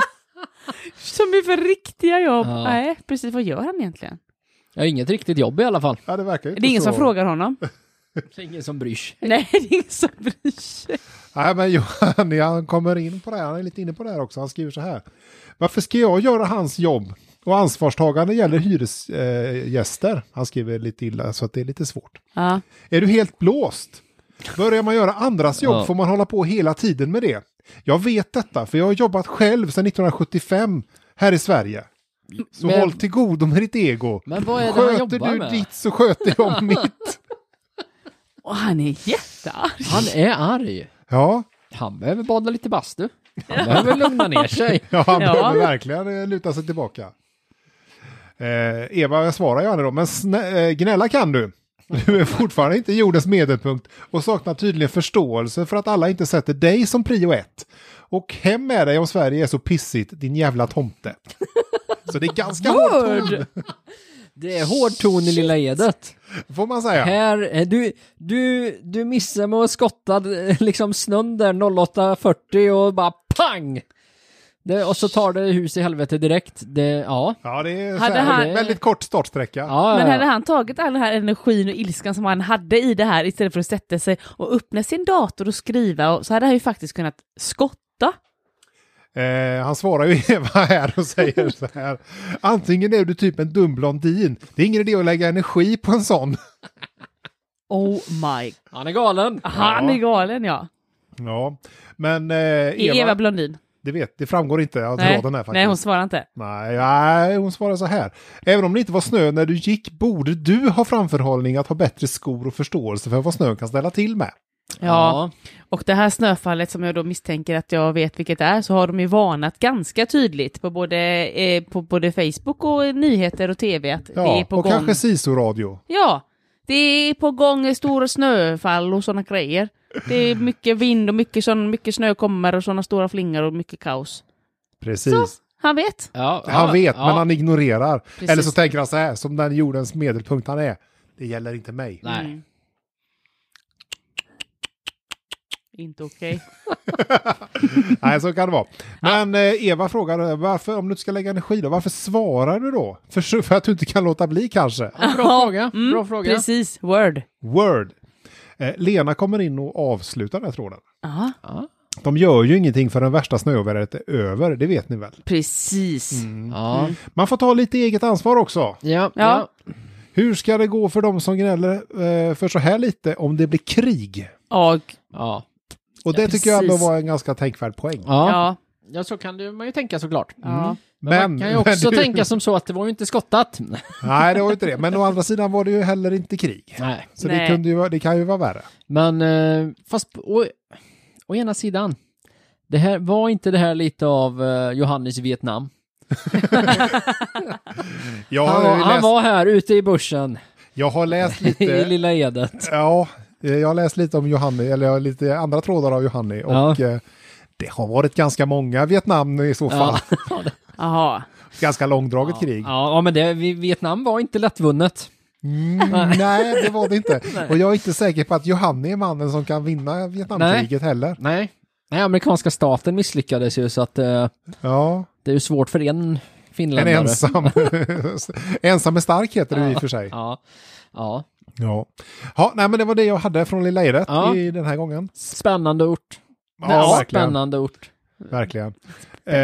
C: Som är för riktiga jobb.
B: Ja.
C: Nej, precis. Vad gör han egentligen?
B: Jag har inget riktigt jobb i alla fall.
A: Ja, det verkar ju
C: Det är ingen
A: så.
C: som frågar honom.
B: Så ingen som bryr sig.
C: [LAUGHS] Nej, det är ingen som bryr sig.
A: Nej, men Johan, [LAUGHS] han kommer in på det här. Han är lite inne på det här också. Han skriver så här. Varför ska jag göra hans jobb? Och ansvarstagande gäller hyresgäster. Han skriver lite illa så att det är lite svårt.
C: Ja.
A: Är du helt blåst? Börjar man göra andras jobb
B: Ja.
A: får man hålla på hela tiden med det. Jag vet detta, för jag har jobbat själv sedan 1975 här i Sverige. Så
B: Men-
A: håll till godo med ditt ego.
B: Men vad är det han
A: Sköter
B: jobbar
A: du
B: med?
A: ditt så sköter
B: [LAUGHS]
A: jag mitt.
C: Och han är jättearg.
B: Han är arg.
A: Ja,
B: Han behöver bada lite bastu. Han behöver lugna ner sig.
A: ja han
C: Ja.
A: behöver verkligen eh, luta sig tillbaka. Eh, Eva, jag svarar gärna då, men snä- eh, gnälla kan du. Du är fortfarande inte jordens medelpunkt och saknar tydligen förståelse för att alla inte sätter dig som prio ett. Och hem med dig om Sverige är så pissigt, din jävla tomte. Så det är ganska hårt,
C: Word!
B: Det är hård ton i Lilla Edet.
A: får man säga.
B: Här, eh, du, du, du missar med att skotta eh, liksom snön där 08.40 och bara pang! Det, och så tar det hus i helvete direkt. Det, ja.
A: Ja, det är så
C: Hade
A: här,
C: han-
A: väldigt kort startsträcka.
B: ja.
C: Men
B: ja.
C: hade han tagit all den här energin och ilskan som han hade i det här istället för att sätta sig och öppna sin dator och skriva och så hade han ju faktiskt kunnat skotta.
A: Eh, han svarar ju [LAUGHS] Eva här och säger så här. Antingen är du typ en dum blondin. Det är ingen idé att lägga energi på en sån.
C: Oh my...
B: Han är galen.
C: Han är galen ja.
A: Ja, men eh,
C: Är
A: Eva,
C: E- Eva Blondin?
A: det, vet, det framgår inte av
C: Nej.
A: tråden här faktiskt.
C: Nej, hon svarar inte.
A: nej, nej, hon svarar så här. Även om det inte var snö när du gick borde du ha framförhållning att ha bättre skor och förståelse för vad snön kan ställa till med.
C: Ja. Och det här snöfallet som jag då misstänker att jag vet vilket är så har de ju varnat ganska tydligt på både, eh, på både Facebook och nyheter och TV att det är
A: Ja,
C: på
A: och
C: gång.
A: kanske SISO-radio.
C: Ja, det är på gång stora snöfall och sådana grejer. Det är mycket vind och mycket, sån, mycket snö kommer och sådana stora flingor och mycket kaos.
A: Precis.
C: Han vet.
B: Ja, ja,
A: han vet,
B: ja.
A: men han ignorerar.
C: Precis.
A: Eller så tänker han så här, som den jordens medelpunkt han är. Det gäller inte mig.
B: Nej.
C: Mm. Inte okej.
A: [LAUGHS] Nej, så kan det vara. Men eh, Eva frågar, varför, om du inte ska lägga energi då, varför svarar du då? För, för att du inte kan låta bli kanske?
B: Bra fråga. Bra fråga.
C: Mm. Precis, word.
A: Word. Eh, Lena kommer in och avslutar den här tråden.
C: Ja,
A: De gör ju ingenting förrän värsta snöovädret är över, det vet ni väl?
C: precis.
A: Mm.
B: Ja.
A: Man får ta lite eget ansvar också.
B: Ja,
C: Mm. Ja.
B: ja.
A: Hur ska det gå för de som gnäller eh, för så här lite om det blir krig?
C: Och,
B: Ja.
A: Och det
C: Ja,
A: tycker jag ändå
C: precis.
A: var en ganska tänkvärd poäng.
B: Ja. ja.
C: ja.
B: så kan du, man ju tänka såklart.
A: Mm.
C: ja.
B: Men, man kan ju också
A: [LAUGHS] men du-
B: tänka som så att det var ju inte skottat.
A: [LAUGHS] Nej, det var ju inte det. Men å andra sidan var det ju heller inte krig.
B: Nej.
A: Så det,
C: Nej.
A: kunde ju, vara- det kan ju vara värre.
B: Men, eh, fast på- å, å ena sidan, det här, var inte det här lite av eh, Johannes i Vietnam?
A: Jag
B: Han,
A: har,
B: var,
A: ju
B: han
A: läst,
B: var här ute i bushen,
A: jag har
B: [LAUGHS]
A: läst
B: i
A: lite...
B: Lilla Edet.
A: ja, eh, jag har läst lite om Johanni, eller jag har lite andra trådar av Johanni.
B: Ja.
A: Och eh, det har varit ganska många Vietnam i så fall.
B: Ja.
C: Jaha.
A: [LAUGHS] ganska långdraget krig.
B: Ja, ja, men det, vi- Vietnam var inte lättvunnet.
A: Mm, [LAUGHS] nej, det var det inte. Och jag är inte säker på att Johanni är mannen som kan vinna Vietnamkriget heller.
B: Nej. Nej, amerikanska staten misslyckades ju så att eh,
A: Ja,
B: det är ju svårt för en
A: en
B: finländare.
A: ensam. [LAUGHS] ensam är stark heter det i och för sig.
B: Ja. Ja.
A: Ja. ja, nej men det var det jag hade från Lilla Edet
B: Ja.
A: i den här gången.
B: Spännande ort.
A: Ja, verkligen.
B: Spännande ort.
A: verkligen. Eh,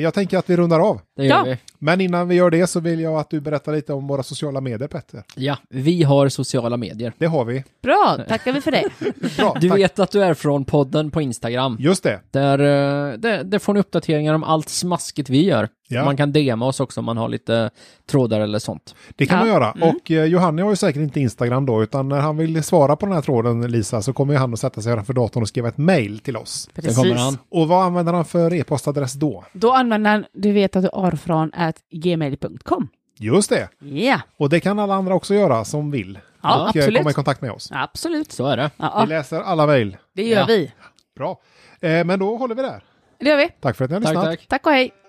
A: jag tänker att vi rundar av.
B: Det gör
C: Ja.
B: vi.
A: Men innan vi gör det så vill jag att du berättar lite om våra sociala medier, Petter.
B: Ja, vi har sociala medier.
A: Det har vi.
C: Bra, tackar vi
A: [LAUGHS]
C: för det.
A: Bra,
B: Du
A: tack.
B: vet att du är från podden på Instagram.
A: Just det.
B: Där, eh, där, där får ni uppdateringar om allt smaskigt vi gör.
A: Ja.
B: Man kan DMa oss också om man har lite trådar eller sånt.
A: Det kan
C: Ja. Mm.
A: man göra. Och eh, Johanne har ju säkert inte Instagram då, utan när han vill svara på den här tråden, Lisa, så kommer ju han att sätta sig framför datorn och skriva ett mejl till oss.
B: Det kommer han.
A: Och vad använder han för e-postadress då?
C: Då använder han, du vet att du har från at gmail.com.
A: Just det.
C: Ja,
A: Och det kan alla andra också göra som vill.
C: Ja,
A: och eh,
C: absolut.
A: komma i kontakt med oss.
C: absolut.
B: Så är det.
A: Vi
C: Ja, ja,
A: läser alla mejl.
C: det gör
B: Ja.
C: vi.
A: Bra. Eh, men då håller vi där.
C: Det gör vi.
A: Tack för att ni har
B: Tack,
A: lyssnat.
B: tack.
C: Tack och hej.